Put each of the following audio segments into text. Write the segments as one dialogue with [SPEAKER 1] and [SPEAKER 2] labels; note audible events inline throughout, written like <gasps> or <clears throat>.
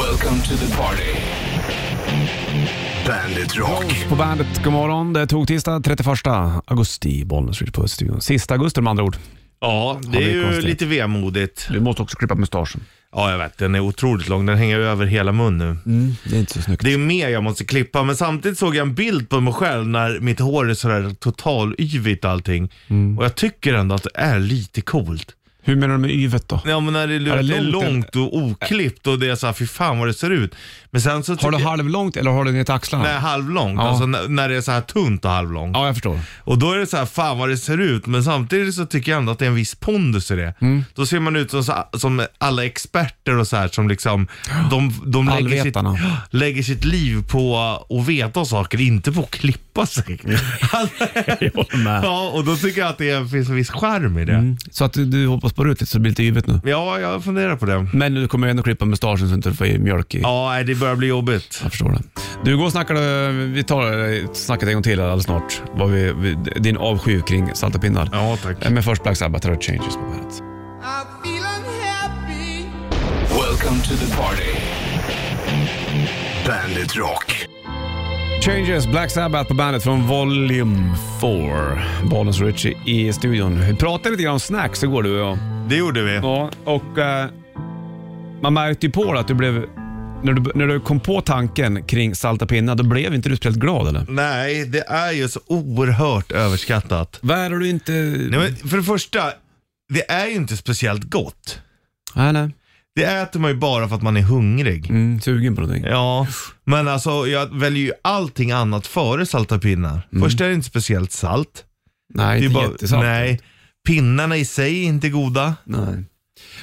[SPEAKER 1] Welcome to the party. Bandit Rock.
[SPEAKER 2] På bandet, god morgon. Det tog tisdag 31 augusti, Bollnäs Ridge på studion. Sista augusti med andra ord.
[SPEAKER 3] Ja,
[SPEAKER 2] Ja,
[SPEAKER 3] det
[SPEAKER 2] det är
[SPEAKER 3] är ju
[SPEAKER 2] konstigt.
[SPEAKER 3] lite vemodigt.
[SPEAKER 2] Du måste också klippa mustaschen.
[SPEAKER 3] Ja, jag vet. Den är otroligt lång. Den hänger över hela mun nu.
[SPEAKER 2] Mm, det är inte så snyggt.
[SPEAKER 3] Det är mer jag måste klippa, men samtidigt såg jag en bild på mig själv när mitt hår är sådär totalyvigt allting.
[SPEAKER 2] Mm.
[SPEAKER 3] Och jag tycker ändå att det är lite coolt.
[SPEAKER 2] Hur menar du med yvet då?
[SPEAKER 3] Ja, men när det, är
[SPEAKER 2] det
[SPEAKER 3] långt,
[SPEAKER 2] långt
[SPEAKER 3] och oklippt och det är såhär, fy fan vad det ser ut. Men sen så
[SPEAKER 2] Har du
[SPEAKER 3] tycker jag-
[SPEAKER 2] halvlångt eller har du ner till axlarna?
[SPEAKER 3] Nej, halvlångt.
[SPEAKER 2] Ja.
[SPEAKER 3] Alltså när, när det är så här tunt och halvlångt.
[SPEAKER 2] Ja, jag förstår.
[SPEAKER 3] Och då är det så här, fan vad det ser ut, men samtidigt så tycker jag ändå att det är en viss pondus i det. Då ser man ut som, så- som alla experter och så här som liksom, de, de lägger, sitt,
[SPEAKER 2] Allvetarna.
[SPEAKER 3] <gasps> lägger sitt liv på att veta saker, inte på att klippa sig. ja, och då tycker jag att det finns en viss charm i det.
[SPEAKER 2] Så att du, du hoppas på ut lite så det blir lite yvet nu.
[SPEAKER 3] Ja, jag funderar på det.
[SPEAKER 2] Men du kommer ändå klippa mustaschen så att du inte får i mjölk i.
[SPEAKER 3] Ja, nej, det börjar bli jobbigt.
[SPEAKER 2] Jag förstår det. Du, igår snackade vi tar snacket en gång till alldeles snart. Vad vi, vi, din avsky kring salta pinnar.
[SPEAKER 3] Ja, tack.
[SPEAKER 2] Men först Black Sabbath, Terror Changes på bandet.
[SPEAKER 4] I feel unhappy.
[SPEAKER 1] Welcome to the party. Bandit Rock.
[SPEAKER 2] Changes, Black Sabbath på bandet från Volume 4. Bollens Richie i studion. Vi pratade lite grann om snacks igår du och jag.
[SPEAKER 3] Det gjorde vi.
[SPEAKER 2] Ja, och eh, man märkte ju på det att du blev... När du, när du kom på tanken kring salta pinnar, då blev inte du speciellt glad eller?
[SPEAKER 3] Nej, det är ju så oerhört överskattat.
[SPEAKER 2] Vad är det du inte...
[SPEAKER 3] Nej, men för det första, det är ju inte speciellt gott.
[SPEAKER 2] nej. nej.
[SPEAKER 3] Det äter man ju bara för att man är hungrig.
[SPEAKER 2] Mm, sugen på någonting.
[SPEAKER 3] Ja, men alltså jag väljer ju allting annat före salta pinnar. Först är det inte speciellt salt.
[SPEAKER 2] Nej,
[SPEAKER 3] Det är
[SPEAKER 2] Mm. inte
[SPEAKER 3] bara-
[SPEAKER 2] jättesalt.
[SPEAKER 3] Nej, pinnarna i sig är inte goda.
[SPEAKER 2] nej.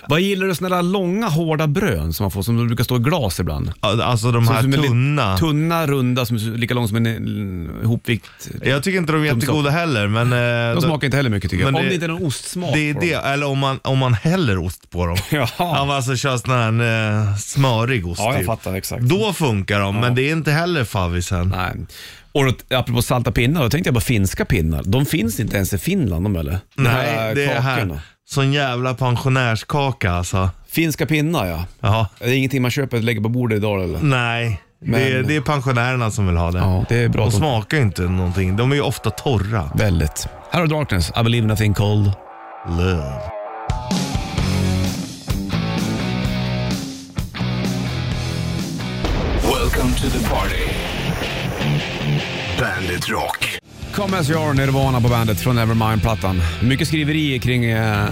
[SPEAKER 2] Vad gillar du sådana där långa hårda brön som man får, som du brukar stå i glas ibland?
[SPEAKER 3] Alltså de
[SPEAKER 2] Som-
[SPEAKER 3] här
[SPEAKER 2] som är lite
[SPEAKER 3] tunna.
[SPEAKER 2] Tunna, runda, som är så- lika lång som en eh, hopvikt.
[SPEAKER 3] jag tycker inte de är jättegoda heller, men eh,
[SPEAKER 2] De
[SPEAKER 3] de-
[SPEAKER 2] smakar inte heller mycket tycker jag.
[SPEAKER 3] Men
[SPEAKER 2] Om
[SPEAKER 3] det-
[SPEAKER 2] det inte är någon ostsmak
[SPEAKER 3] det är
[SPEAKER 2] på
[SPEAKER 3] det.
[SPEAKER 2] dem.
[SPEAKER 3] Eller om man, om man häller
[SPEAKER 2] <laughs>
[SPEAKER 3] ost på dem.
[SPEAKER 2] Jaha.
[SPEAKER 3] Ja, men alltså kör sån här eh, smörig ost
[SPEAKER 2] Ja, jag
[SPEAKER 3] typ.
[SPEAKER 2] fattar exakt.
[SPEAKER 3] Då funkar de, men det är inte heller favvisen.
[SPEAKER 2] Nej. Och då, apropå salta pinnar, då tänkte jag på finska pinnar. De finns inte ens i Finland de eller? De
[SPEAKER 3] Nej,
[SPEAKER 2] här
[SPEAKER 3] det är
[SPEAKER 2] kakorna.
[SPEAKER 3] här. Sån jävla pensionärskaka alltså.
[SPEAKER 2] Finska pinnar ja.
[SPEAKER 3] Ja.
[SPEAKER 2] Det är ingenting man köper och lägger på bordet idag eller?
[SPEAKER 3] Mm. Nej, det, är,
[SPEAKER 2] Men-
[SPEAKER 3] det är pensionärerna som vill ha det.
[SPEAKER 2] Ja, det är bra
[SPEAKER 3] De
[SPEAKER 2] att de-
[SPEAKER 3] smakar ju inte någonting. De är ju ofta torra.
[SPEAKER 2] Väldigt. Här har du Darkness, I believe nothing cold.
[SPEAKER 3] Love.
[SPEAKER 1] Welcome to the party. Bandit Rock.
[SPEAKER 2] Come as you are, Nirvana på bandet från Nevermind-plattan. Mycket skriverier kring eh,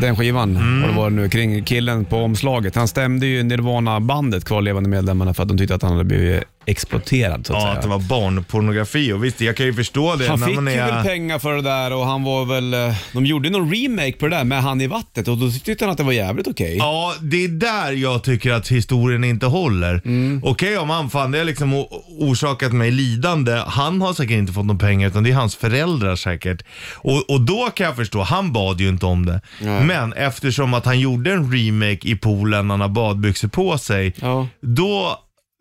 [SPEAKER 2] den skivan,
[SPEAKER 3] Mm.
[SPEAKER 2] vad det var nu, kring killen på omslaget. Han stämde ju Nirvana-bandet, kvarlevande medlemmarna, för att de tyckte att han hade blivit exploaterad så att
[SPEAKER 3] Ja,
[SPEAKER 2] säga.
[SPEAKER 3] att det var barnpornografi. Och visst, jag kan ju förstå det.
[SPEAKER 2] Han
[SPEAKER 3] när
[SPEAKER 2] fick
[SPEAKER 3] man
[SPEAKER 2] ju
[SPEAKER 3] är...
[SPEAKER 2] väl pengar för det där och han var väl... eh, De gjorde någon remake på det där med han i vattnet och då tyckte han att det var jävligt okej.
[SPEAKER 3] Ja, det är där jag tycker att historien inte håller. Okej om han fan, det har liksom o- orsakat mig lidande. Han har säkert inte fått någon pengar utan det är hans föräldrar säkert. Och, och då kan jag förstå, han bad ju inte om det. Men eftersom att han gjorde en remake i poolen när han har badbyxor på sig.
[SPEAKER 2] Ja.
[SPEAKER 3] Då,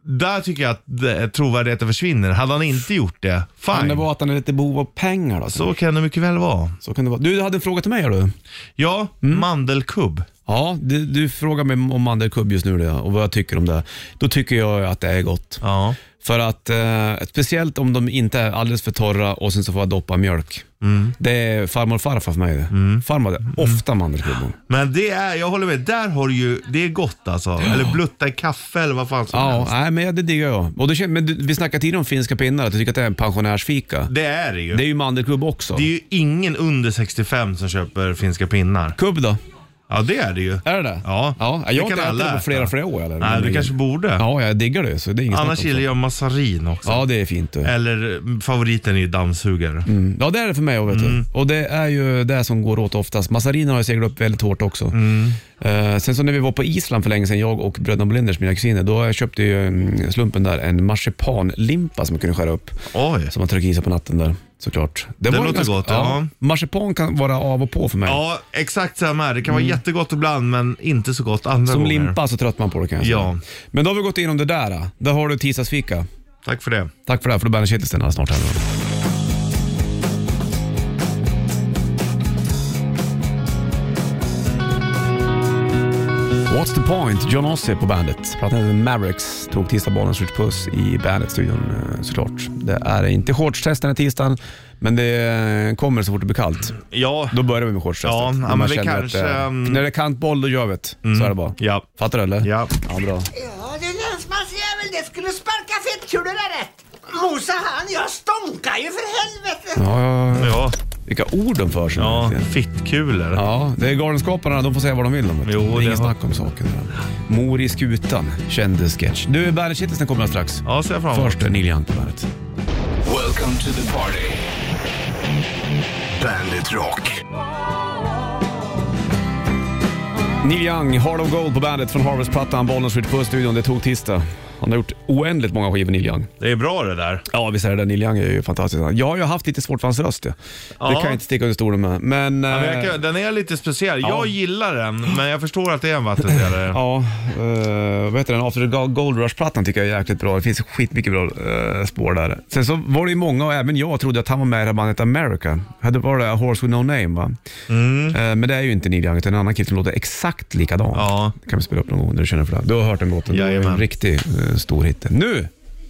[SPEAKER 3] där tycker jag att eh, trovärdigheten försvinner. Hade han inte gjort det,
[SPEAKER 2] Kan
[SPEAKER 3] fine.
[SPEAKER 2] det vara att han är lite i behov av pengar då? Så.
[SPEAKER 3] Så kan det mycket väl vara.
[SPEAKER 2] så kan det vara. Du, du hade en fråga till mig, har du?
[SPEAKER 3] Ja,
[SPEAKER 2] Mm.
[SPEAKER 3] mandelkubb.
[SPEAKER 2] Ja, du, du frågar mig om mandelkubb just nu det, och vad jag tycker om det. Då tycker jag att det är gott.
[SPEAKER 3] Ja.
[SPEAKER 2] För att, eh, speciellt om de inte är alldeles för torra och sen så får jag doppa mjölk.
[SPEAKER 3] Mm.
[SPEAKER 2] Det är farmor och farfar för mig det. Farmor hade ofta mandelkubb.
[SPEAKER 3] Men det är, jag håller med, där har du ju, det är gott alltså. Eller blutta i kaffe eller vad fan som
[SPEAKER 2] Ja,
[SPEAKER 3] helst.
[SPEAKER 2] nej, men det diggar jag. Och det, kän- men du, vi snackade tidigare om finska pinnar, att jag tycker att det är en pensionärsfika.
[SPEAKER 3] Det är det ju.
[SPEAKER 2] Det
[SPEAKER 3] Det,
[SPEAKER 2] är ju mandelkubb också.
[SPEAKER 3] är ju ingen under 65 som köper finska pinnar.
[SPEAKER 2] Kubb då?
[SPEAKER 3] Ja, det är det ju.
[SPEAKER 2] Är det det?
[SPEAKER 3] Ja,
[SPEAKER 2] ja
[SPEAKER 3] det
[SPEAKER 2] jag har
[SPEAKER 3] kan
[SPEAKER 2] inte ätit
[SPEAKER 3] alla
[SPEAKER 2] det på
[SPEAKER 3] äta.
[SPEAKER 2] flera, flera år. Eller?
[SPEAKER 3] Nej,
[SPEAKER 2] Men
[SPEAKER 3] du
[SPEAKER 2] det-
[SPEAKER 3] kanske borde.
[SPEAKER 2] Ja, jag diggar det, så det är inget snack
[SPEAKER 3] Annars
[SPEAKER 2] om
[SPEAKER 3] gillar
[SPEAKER 2] saken.
[SPEAKER 3] jag massarin också.
[SPEAKER 2] Ja, det är fint du.
[SPEAKER 3] Eller mm, favoriten är ju dammsugare.
[SPEAKER 2] Mm. Ja, det är det för mig också, vet du.
[SPEAKER 3] Mm.
[SPEAKER 2] Och det är ju det som går åt oftast. Massarinen har ju seglat upp väldigt hårt också.
[SPEAKER 3] Mm.
[SPEAKER 2] Eh, sen så när vi var på Island för länge sedan, jag och bröderna Bolinders, mina kusiner, då köpte ju mm, slumpen där en marsipanlimpa som man kunde skära upp.
[SPEAKER 3] Oj.
[SPEAKER 2] Som man tryckte i sig på natten där, såklart.
[SPEAKER 3] Det
[SPEAKER 2] var
[SPEAKER 3] låter
[SPEAKER 2] ganska-
[SPEAKER 3] gott, ja.
[SPEAKER 2] Marsipan kan vara av och på för mig.
[SPEAKER 3] Ja, exakt samma här. Det kan vara jättegott ibland men inte så gott andra
[SPEAKER 2] Mm. Som
[SPEAKER 3] gånger.
[SPEAKER 2] limpa så tröttnar man på det kan jag säga.
[SPEAKER 3] Ja.
[SPEAKER 2] Men då har vi gått igenom det där. då. Där har du tisdagsfika.
[SPEAKER 3] Tack för det.
[SPEAKER 2] Tack för det här, för då börjar kittelsen alldeles snart. Här. nu. What's the point? John Ossie på bandet. Pratade med Mavericks, tog tisdagsbarnens puss i bandet-studion eh, såklart. Det är inte shortstest den här tisdagen, men det eh, kommer så fort det blir kallt.
[SPEAKER 3] Ja,
[SPEAKER 2] Då börjar vi med shortstestet.
[SPEAKER 3] Ja,
[SPEAKER 2] När
[SPEAKER 3] ja,
[SPEAKER 2] man
[SPEAKER 3] men vi
[SPEAKER 2] känner
[SPEAKER 3] kanske,
[SPEAKER 2] eh,
[SPEAKER 3] ehm, Mm.
[SPEAKER 2] när det är kantboll, då gör vi det. Så är det bara.
[SPEAKER 3] ja.
[SPEAKER 2] Fattar du eller?
[SPEAKER 3] Ja.
[SPEAKER 2] ja bra.
[SPEAKER 5] Ja, du länsmansjävel, det skulle sparka fettkulor där rätt. Mosa han, jag stånkar ju för helvete.
[SPEAKER 2] Ja, ja, ja.
[SPEAKER 3] Ja,
[SPEAKER 2] Vilka ord de för sig.
[SPEAKER 3] ja
[SPEAKER 2] egentligen.
[SPEAKER 3] fittkulor.
[SPEAKER 2] Ja, det är Galenskaparna, de får säga vad de vill. De
[SPEAKER 3] Jo,
[SPEAKER 2] det är
[SPEAKER 3] det
[SPEAKER 2] inget
[SPEAKER 3] har-
[SPEAKER 2] snack om saken. Mor i skutan, kändissketch. Du, Bandet Kittelsen kommer strax.
[SPEAKER 3] Ja, ser jag fram emot.
[SPEAKER 2] Först Neil Young på bandet.
[SPEAKER 1] Welcome to the party. Bandit Rock.
[SPEAKER 2] Neil Young, Heart of Gold på bandet från Harvest-plattan, Bollnäs skjuter på studion. Det tog tisdag. Han har gjort oändligt många skivor, Neil Young.
[SPEAKER 3] Det är bra det där.
[SPEAKER 2] Ja, vi säger det. Neil Young är ju fantastisk. Jag har ju haft lite svårt för hans röst. Ja. Det
[SPEAKER 3] Ja.
[SPEAKER 2] kan jag inte sticka under stolen med. Men...
[SPEAKER 3] Ja, men
[SPEAKER 2] eh,
[SPEAKER 3] jag kan, den är lite speciell. Jag gillar den, men jag förstår att det är en vattendelare.
[SPEAKER 2] Ja, eh, vad heter den? After Go- Gold Rush-plattan tycker jag är jäkligt bra. Det finns skitmycket bra eh, spår där. Sen så var det ju många, och även jag, trodde att han var med i det här bandet America. Hade var det Horse With No Name va?
[SPEAKER 3] Mm.
[SPEAKER 2] Eh, men det är ju inte Neil Young, utan en annan kille som låter exakt likadan.
[SPEAKER 3] Ja.
[SPEAKER 2] kan vi spela upp någon gång när du känner för det. Du har hört den låten, det är en
[SPEAKER 3] Jajamän.
[SPEAKER 2] riktig eh, stor hit. Nu!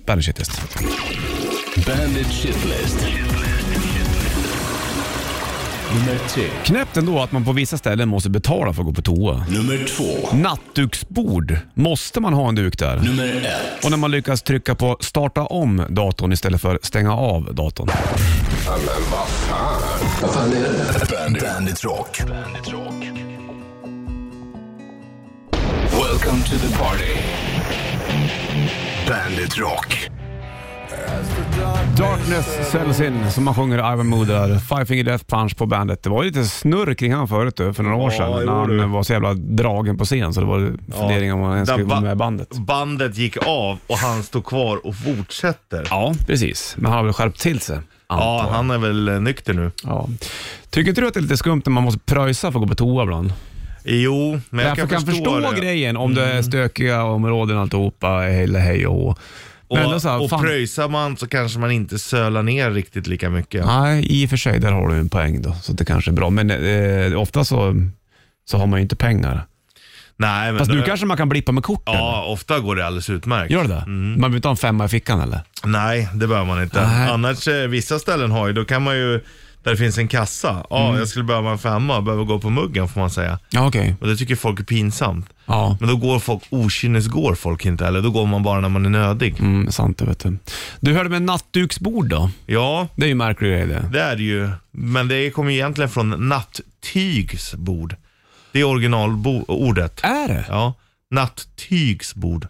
[SPEAKER 2] Bandage Test.
[SPEAKER 1] Bandit Shitlist. Nummer tre.
[SPEAKER 2] Knäppt ändå att man på vissa ställen måste betala för att gå på toa.
[SPEAKER 1] Nummer två.
[SPEAKER 2] Nattduksbord. Måste man ha en duk där?
[SPEAKER 1] Nummer ett.
[SPEAKER 2] Och när man lyckas trycka på starta om datorn istället för stänga av datorn.
[SPEAKER 1] Vad fan är det? Bandit, Bandit Rock. Bandit Rock. Welcome to the party. Bandit Rock.
[SPEAKER 2] Darkness sells in, som man sjunger i Ivan Mood där. Five Finger Death Punch på bandet. Det var ju lite snurr kring han förut du, för några år
[SPEAKER 3] Ja,
[SPEAKER 2] sedan.
[SPEAKER 3] jo,
[SPEAKER 2] när han
[SPEAKER 3] du.
[SPEAKER 2] var så jävla dragen på scen så det var funderingar om han ens
[SPEAKER 3] Där
[SPEAKER 2] skulle vara
[SPEAKER 3] ba-
[SPEAKER 2] med i bandet.
[SPEAKER 3] Bandet gick av och han står kvar och fortsätter.
[SPEAKER 2] Ja,
[SPEAKER 3] Ja,
[SPEAKER 2] precis. Men han har väl skärpt till sig? antar jag.
[SPEAKER 3] han är väl eh, nykter nu.
[SPEAKER 2] ja. Tycker inte du att det är lite skumt när man måste pröjsa för att gå på toa ibland?
[SPEAKER 3] Jo, men jag
[SPEAKER 2] Därför
[SPEAKER 3] kan, förstå, det. Mm.
[SPEAKER 2] grejen om det är stökiga områden och alltihopa, hej hej och hå.
[SPEAKER 3] Och,
[SPEAKER 2] Men ändå så här,
[SPEAKER 3] och
[SPEAKER 2] fan-
[SPEAKER 3] pröjsar man så kanske man inte sölar ner riktigt lika mycket.
[SPEAKER 2] Nej, i och för sig, där har du en poäng då. Så det kanske är bra. Men eh, ofta så, så har man ju inte pengar.
[SPEAKER 3] Nej, men
[SPEAKER 2] Fast nu
[SPEAKER 3] då-
[SPEAKER 2] kanske man kan blippa med korten.
[SPEAKER 3] Ja, Mm. ofta går det alldeles utmärkt.
[SPEAKER 2] Gör det det? Man behöver inte ha en femma i fickan eller?
[SPEAKER 3] Nej, det behöver man inte.
[SPEAKER 2] Nej.
[SPEAKER 3] Annars, eh, vissa ställen har ju, då kan man ju, där det finns en kassa. Ja,
[SPEAKER 2] Mm.
[SPEAKER 3] jag skulle behöva en femma, behöver gå på muggen får man säga.
[SPEAKER 2] Ja, okej.
[SPEAKER 3] Och det tycker folk är pinsamt.
[SPEAKER 2] Ja,
[SPEAKER 3] Men då går folk, okynnes går folk inte, eller då går man bara när man är nödig.
[SPEAKER 2] mm, sant det vet du. Du hörde med nattduksbord då?
[SPEAKER 3] Ja,
[SPEAKER 2] Det är ju en märklig grej det.
[SPEAKER 3] det är det ju. Men det kommer ju egentligen från nattygsbord. Det är originalordet.
[SPEAKER 2] Är det?
[SPEAKER 3] Ja, nattygsbord.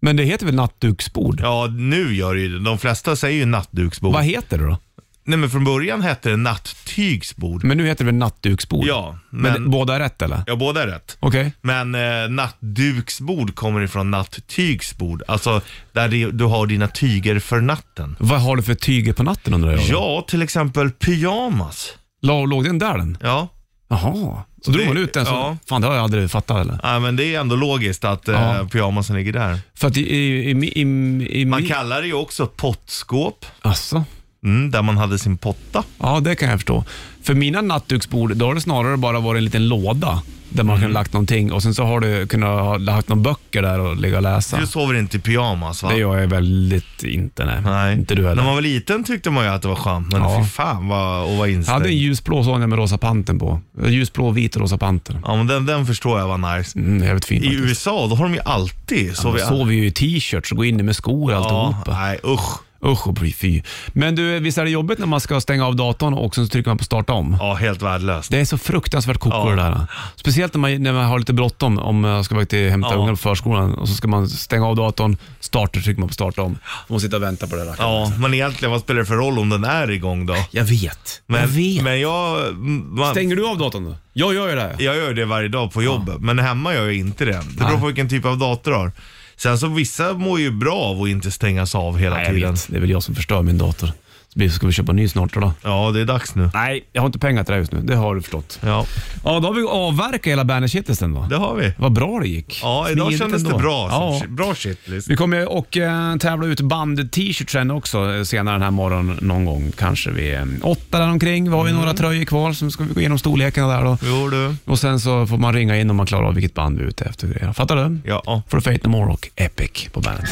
[SPEAKER 2] Men det heter väl nattduksbord?
[SPEAKER 3] Ja, nu gör det ju det. De flesta säger ju nattduksbord.
[SPEAKER 2] Vad heter det då?
[SPEAKER 3] Nej, men från början hette det nattygsbord.
[SPEAKER 2] Men nu heter det väl nattduksbord?
[SPEAKER 3] Ja,
[SPEAKER 2] Mm. Men,
[SPEAKER 3] men...
[SPEAKER 2] båda är rätt eller?
[SPEAKER 3] Ja, båda är rätt.
[SPEAKER 2] Okej.
[SPEAKER 3] Men eh, nattduksbord kommer ifrån natttygsbord. Alltså, där det, du har dina tyger för natten.
[SPEAKER 2] Vad har du för tyger på natten undrar jag?
[SPEAKER 3] Ja, till exempel pyjamas.
[SPEAKER 2] La, låg den där den?
[SPEAKER 3] Ja,
[SPEAKER 2] Jaha. Så drog
[SPEAKER 3] det-
[SPEAKER 2] man ut den så...
[SPEAKER 3] ja.
[SPEAKER 2] Fan, det har jag aldrig fattat eller?
[SPEAKER 3] ja, men det är ändå logiskt att eh,
[SPEAKER 2] Ja.
[SPEAKER 3] pyjamasen ligger där.
[SPEAKER 2] För att i... i, i, i, i, i
[SPEAKER 3] Man kallar det ju också pottskåp,
[SPEAKER 2] Alltså.
[SPEAKER 3] mm, där man hade sin potta.
[SPEAKER 2] Ja, det kan jag förstå. För mina nattduksbord, då har det snarare bara varit en liten låda där man
[SPEAKER 3] Mm.
[SPEAKER 2] kan lagt någonting och sen så har du kunnat ha lagt några böcker där och ligga och läsa.
[SPEAKER 3] Du sover inte i pyjamas va?
[SPEAKER 2] Det gör jag väldigt inte, nej.
[SPEAKER 3] Nej.
[SPEAKER 2] Inte du
[SPEAKER 3] När
[SPEAKER 2] heller.
[SPEAKER 3] man var liten tyckte man ju att det var skönt, men
[SPEAKER 2] Ja.
[SPEAKER 3] fy fan vad,
[SPEAKER 2] Jag
[SPEAKER 3] och vad
[SPEAKER 2] hade en
[SPEAKER 3] instängd.
[SPEAKER 2] ljusblå sån med rosa panten på. Ljusblå, vit och rosa panter.
[SPEAKER 3] Ja, men den, den förstår jag var nice.
[SPEAKER 2] Mm, jävligt fint
[SPEAKER 3] I
[SPEAKER 2] faktiskt.
[SPEAKER 3] USA, då har de ju alltid
[SPEAKER 2] Då
[SPEAKER 3] sovit...
[SPEAKER 2] sover ju i t-shirts och går inne med skor och
[SPEAKER 3] ja,
[SPEAKER 2] alltihopa.
[SPEAKER 3] nej usch.
[SPEAKER 2] Usch och fy, fy. Men du, visst är det jobbigt när man ska stänga av datorn och sen så trycker man på starta om?
[SPEAKER 3] Ja, helt värdelöst.
[SPEAKER 2] Det är så fruktansvärt koko
[SPEAKER 3] Ja.
[SPEAKER 2] det där. Speciellt när man, när man har lite bråttom, om jag ska iväg till hämta
[SPEAKER 3] Ja.
[SPEAKER 2] ungarna på förskolan och så ska man stänga av datorn, starta trycker man på starta om. Man sitter och vänta på det där.
[SPEAKER 3] Ja, men egentligen vad spelar det för roll om den är igång då?
[SPEAKER 2] Jag vet.
[SPEAKER 3] Men
[SPEAKER 2] jag vet.
[SPEAKER 3] Men jag, man,
[SPEAKER 2] Stänger du av datorn då? Jag gör ju det. här.
[SPEAKER 3] jag gör det varje dag på jobbet, men hemma gör jag inte det. Det beror på vilken typ av dator du har. Sen så vissa mår ju bra av att inte stängas av hela
[SPEAKER 2] Nej, jag
[SPEAKER 3] tiden.
[SPEAKER 2] vet. Det är väl jag som förstör min dator. Vi ska väl köpa en ny snart då.
[SPEAKER 3] Ja, det är dags nu.
[SPEAKER 2] Nej, jag har inte pengar till det här just nu. Det har du förstått.
[SPEAKER 3] Ja,
[SPEAKER 2] Ja, då har vi avverkat hela Bandet-kittelsen då.
[SPEAKER 3] det har vi.
[SPEAKER 2] Vad bra det gick.
[SPEAKER 3] Ja, idag
[SPEAKER 2] Smidigt
[SPEAKER 3] kändes
[SPEAKER 2] ändå.
[SPEAKER 3] det bra.
[SPEAKER 2] Ja.
[SPEAKER 3] Så, Bra shitlist.
[SPEAKER 2] Vi kommer ju och eh, tävla ut band-t-shirts sen också eh, senare den här morgonen någon gång. Kanske vid eh, åtta där omkring. Vi har
[SPEAKER 3] Mm.
[SPEAKER 2] ju några tröjor kvar som ska vi gå igenom storlekarna där då.
[SPEAKER 3] Jo du.
[SPEAKER 2] Och sen så får man ringa in om man klarar av vilket band vi är ute efter. Fattar du?
[SPEAKER 3] Ja.
[SPEAKER 2] For Fate No More och Epic på bandet.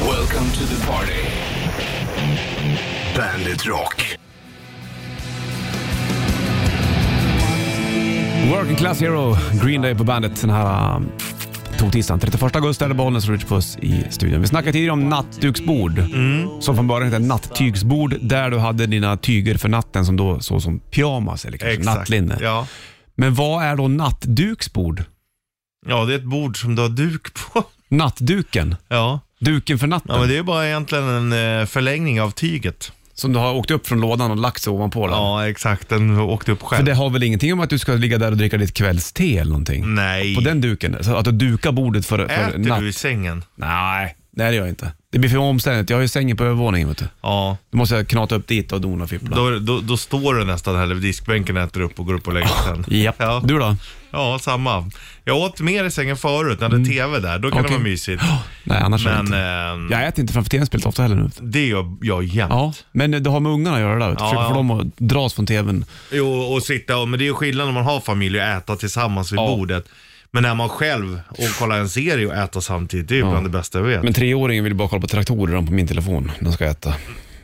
[SPEAKER 1] Welcome to the party. Bandit Rock.
[SPEAKER 2] Working Class Hero, Green Day på bandet den här um, tog-tisdagen. 31 augusti är det Bollnäs och Rich Puss i studion. Vi snackade tidigare om nattduksbord,
[SPEAKER 3] Mm.
[SPEAKER 2] som från början hette nattygsbord, där du hade dina tyger för natten som då såg som pyjamas eller kanske
[SPEAKER 3] Exakt.
[SPEAKER 2] nattlinne.
[SPEAKER 3] Ja.
[SPEAKER 2] Men vad är då nattduksbord?
[SPEAKER 3] ja, det är ett bord som du har duk på. <laughs>
[SPEAKER 2] Nattduken,
[SPEAKER 3] Ja,
[SPEAKER 2] duken för natten,
[SPEAKER 3] ja men det är bara egentligen en eh, förlängning av tyget.
[SPEAKER 2] som du har åkt upp från lådan och lagt sig ovanpå. den.
[SPEAKER 3] Ja, exakt. Den åkte upp själv.
[SPEAKER 2] För det har väl ingenting om att du ska ligga där och dricka ditt kvällste eller någonting?
[SPEAKER 3] Nej.
[SPEAKER 2] På den duken? Så att du dukar bordet för, för
[SPEAKER 3] Äter
[SPEAKER 2] natt?
[SPEAKER 3] du i sängen?
[SPEAKER 2] Nej, nej det gör jag inte. Det blir för omständigt. Jag har ju sängen på övervåningen vet du.
[SPEAKER 3] Ja.
[SPEAKER 2] Då måste jag knata upp dit och dona och fippla.
[SPEAKER 3] Då, då, då står du nästan här vid diskbänken och äter upp och går upp och lägger dig sen.
[SPEAKER 2] Japp.
[SPEAKER 3] Ja.
[SPEAKER 2] Du då?
[SPEAKER 3] ja, samma. Jag åt mer i sängen förut, när det hade tv där. Då kan
[SPEAKER 2] Mm. Okej.
[SPEAKER 3] det vara mysigt.
[SPEAKER 2] <gasps> Nej, annars är det
[SPEAKER 3] Men
[SPEAKER 2] inte.
[SPEAKER 3] ehm,
[SPEAKER 2] Jag äter inte framför tv-spelet ofta heller nu. vet du.
[SPEAKER 3] det gör jag jämt.
[SPEAKER 2] Ja, men det har med ungarna att göra där. vet du.
[SPEAKER 3] Ja,
[SPEAKER 2] Försöker få
[SPEAKER 3] ja.
[SPEAKER 2] dem att dras från tvn.
[SPEAKER 3] Jo, och sitta och, men det är ju skillnad när man har familj och äta tillsammans vid
[SPEAKER 2] Ja.
[SPEAKER 3] bordet. Men när man själv och kollar en serie och äta samtidigt, det är ju bland det bästa jag vet.
[SPEAKER 2] Men treåringen vill bara kolla på traktorer på min telefon när de ska äta.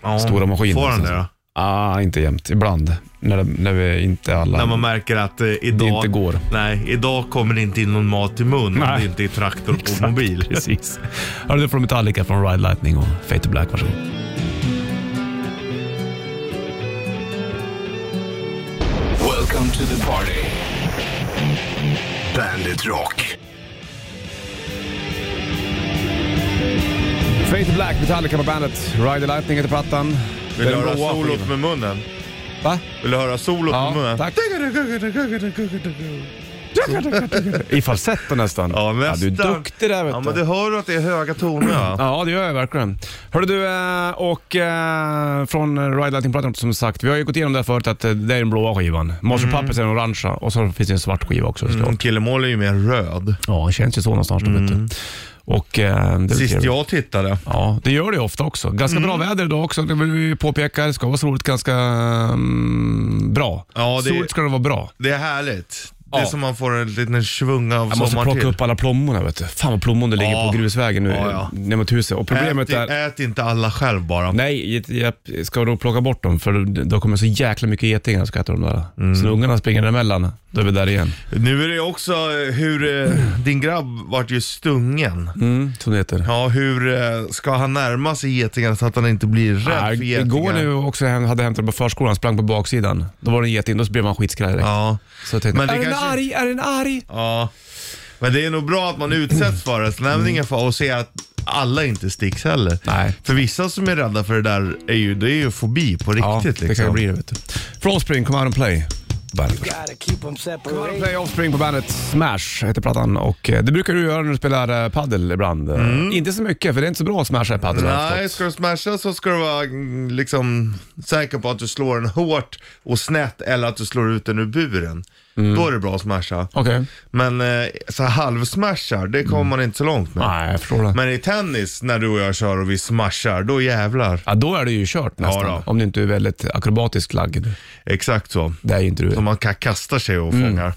[SPEAKER 3] ja.
[SPEAKER 2] Stora maskiner.
[SPEAKER 3] Får han det
[SPEAKER 2] Sen-
[SPEAKER 3] då?
[SPEAKER 2] Ah, inte jämt. Ibland. När, det, när vi inte alla...
[SPEAKER 3] När man märker att eh, idag,
[SPEAKER 2] inte går.
[SPEAKER 3] Nej, idag kommer det inte in någon mat i mun om
[SPEAKER 2] Nej.
[SPEAKER 3] det inte är traktor på mobil.
[SPEAKER 2] <laughs> Precis. Hörde du från Metallica från Ride Lightning och Fate to Black, varsågod.
[SPEAKER 1] Welcome to the party. Bandit Rock.
[SPEAKER 2] Fate to Black, Metallica på bandet. Ride the Lightning heter plattan.
[SPEAKER 3] Vill du
[SPEAKER 2] Den
[SPEAKER 3] höra
[SPEAKER 2] blåa
[SPEAKER 3] solot
[SPEAKER 2] skivan.
[SPEAKER 3] med munnen?
[SPEAKER 2] Va?
[SPEAKER 3] Vill du höra solot med
[SPEAKER 2] Ja,
[SPEAKER 3] munnen? <laughs>
[SPEAKER 2] tack. I falsetto nästan.
[SPEAKER 3] Ja,
[SPEAKER 2] du är
[SPEAKER 3] nästan.
[SPEAKER 2] duktig där vet
[SPEAKER 3] Ja,
[SPEAKER 2] du.
[SPEAKER 3] men det hör du att det är höga toner va?
[SPEAKER 2] Ja, det gör jag verkligen. Hörru du, eh, och eh, från Ride Lighting-plattan som sagt, vi har ju gått igenom det här förut att eh, det är den blåa skivan. Marshall Puppets är den orangea och så finns det en svart skiva också såklart.
[SPEAKER 3] Mm. Killemål är ju mer röd.
[SPEAKER 2] Ja, det känns ju så någonstans då vet du. Och, eh, det är
[SPEAKER 3] Sist
[SPEAKER 2] trevligt.
[SPEAKER 3] jag Mm. tittade.
[SPEAKER 2] Ja, det gör det ju ofta också. Ganska bra väder idag också, det vill vi påpeka. Det ska vara soligt ganska mm, bra.
[SPEAKER 3] Ja, det-
[SPEAKER 2] Soligt ska det vara bra.
[SPEAKER 3] Det är härligt. Det
[SPEAKER 2] Ja.
[SPEAKER 3] är som man får en liten svunga av
[SPEAKER 2] Jag måste
[SPEAKER 3] sommar
[SPEAKER 2] plocka
[SPEAKER 3] till.
[SPEAKER 2] upp alla plommon vet du. Fan vad plommon det ligger
[SPEAKER 3] Ja.
[SPEAKER 2] på grusvägen nu
[SPEAKER 3] Ja, ja.
[SPEAKER 2] ner mot huset. Och problemet
[SPEAKER 3] ät,
[SPEAKER 2] är...
[SPEAKER 3] ät inte alla själv bara.
[SPEAKER 2] Nej, jag ska nog plocka bort dem för då kommer så jäkla mycket getingar ska äta de där. Så när ungarna springer emellan, då är vi där igen.
[SPEAKER 3] Nu är det också eh, hur, eh, din grabb vart ju stungen.
[SPEAKER 2] Mm, som det heter.
[SPEAKER 3] Ja, hur eh, ska han närma sig getingen så att han inte blir rädd för
[SPEAKER 2] Nej,
[SPEAKER 3] getingen?
[SPEAKER 2] igår nu också jag hade jag hämtat dem på förskolan, sprang på baksidan. Då var det en geting, då blev man skitskraj direkt.
[SPEAKER 3] Ja.
[SPEAKER 2] Så jag tänkte,
[SPEAKER 3] Men det
[SPEAKER 2] är den
[SPEAKER 3] kanske-
[SPEAKER 2] arg? Är den arg?
[SPEAKER 3] ja. Men det är nog bra att man utsätts för det. Så det är väl ingen fara att se att alla inte sticks heller.
[SPEAKER 2] Mm. Nej.
[SPEAKER 3] För vissa som är rädda för det där, är ju, det är ju fobi på riktigt.
[SPEAKER 2] Ja,
[SPEAKER 3] liksom.
[SPEAKER 2] det kan ju bli det vet du. För Offspring, Come Out and Play. Bandet.
[SPEAKER 6] Gotta keep 'em
[SPEAKER 2] Come Out and
[SPEAKER 6] separate.
[SPEAKER 2] Play Offspring på bandet. Smash heter plattan och eh, det brukar du göra när du spelar eh, paddel ibland. Eh, Inte så mycket för det är inte så bra att smasha i padel. har jag förstått.
[SPEAKER 3] Mm. Nej, ska du smasha så ska du vara mm, liksom säker på att du slår den hårt och snett eller att du slår ut den ur buren. Då är det bra att smasha.
[SPEAKER 2] Mm. Okej. Mm.
[SPEAKER 3] Men eh, så här halvsmashar, det kommer man inte så långt med.
[SPEAKER 2] Nej, jag förstår det.
[SPEAKER 3] Men i tennis, när du och jag kör och vi smashar, då jävlar.
[SPEAKER 2] Ja, då är det ju kört nästan.
[SPEAKER 3] Ja, då.
[SPEAKER 2] om du inte är väldigt akrobatisk lagd.
[SPEAKER 3] Exakt så.
[SPEAKER 2] Det är Mm. ju inte
[SPEAKER 3] Så
[SPEAKER 2] du.
[SPEAKER 3] man ka- kastar sig och fångar.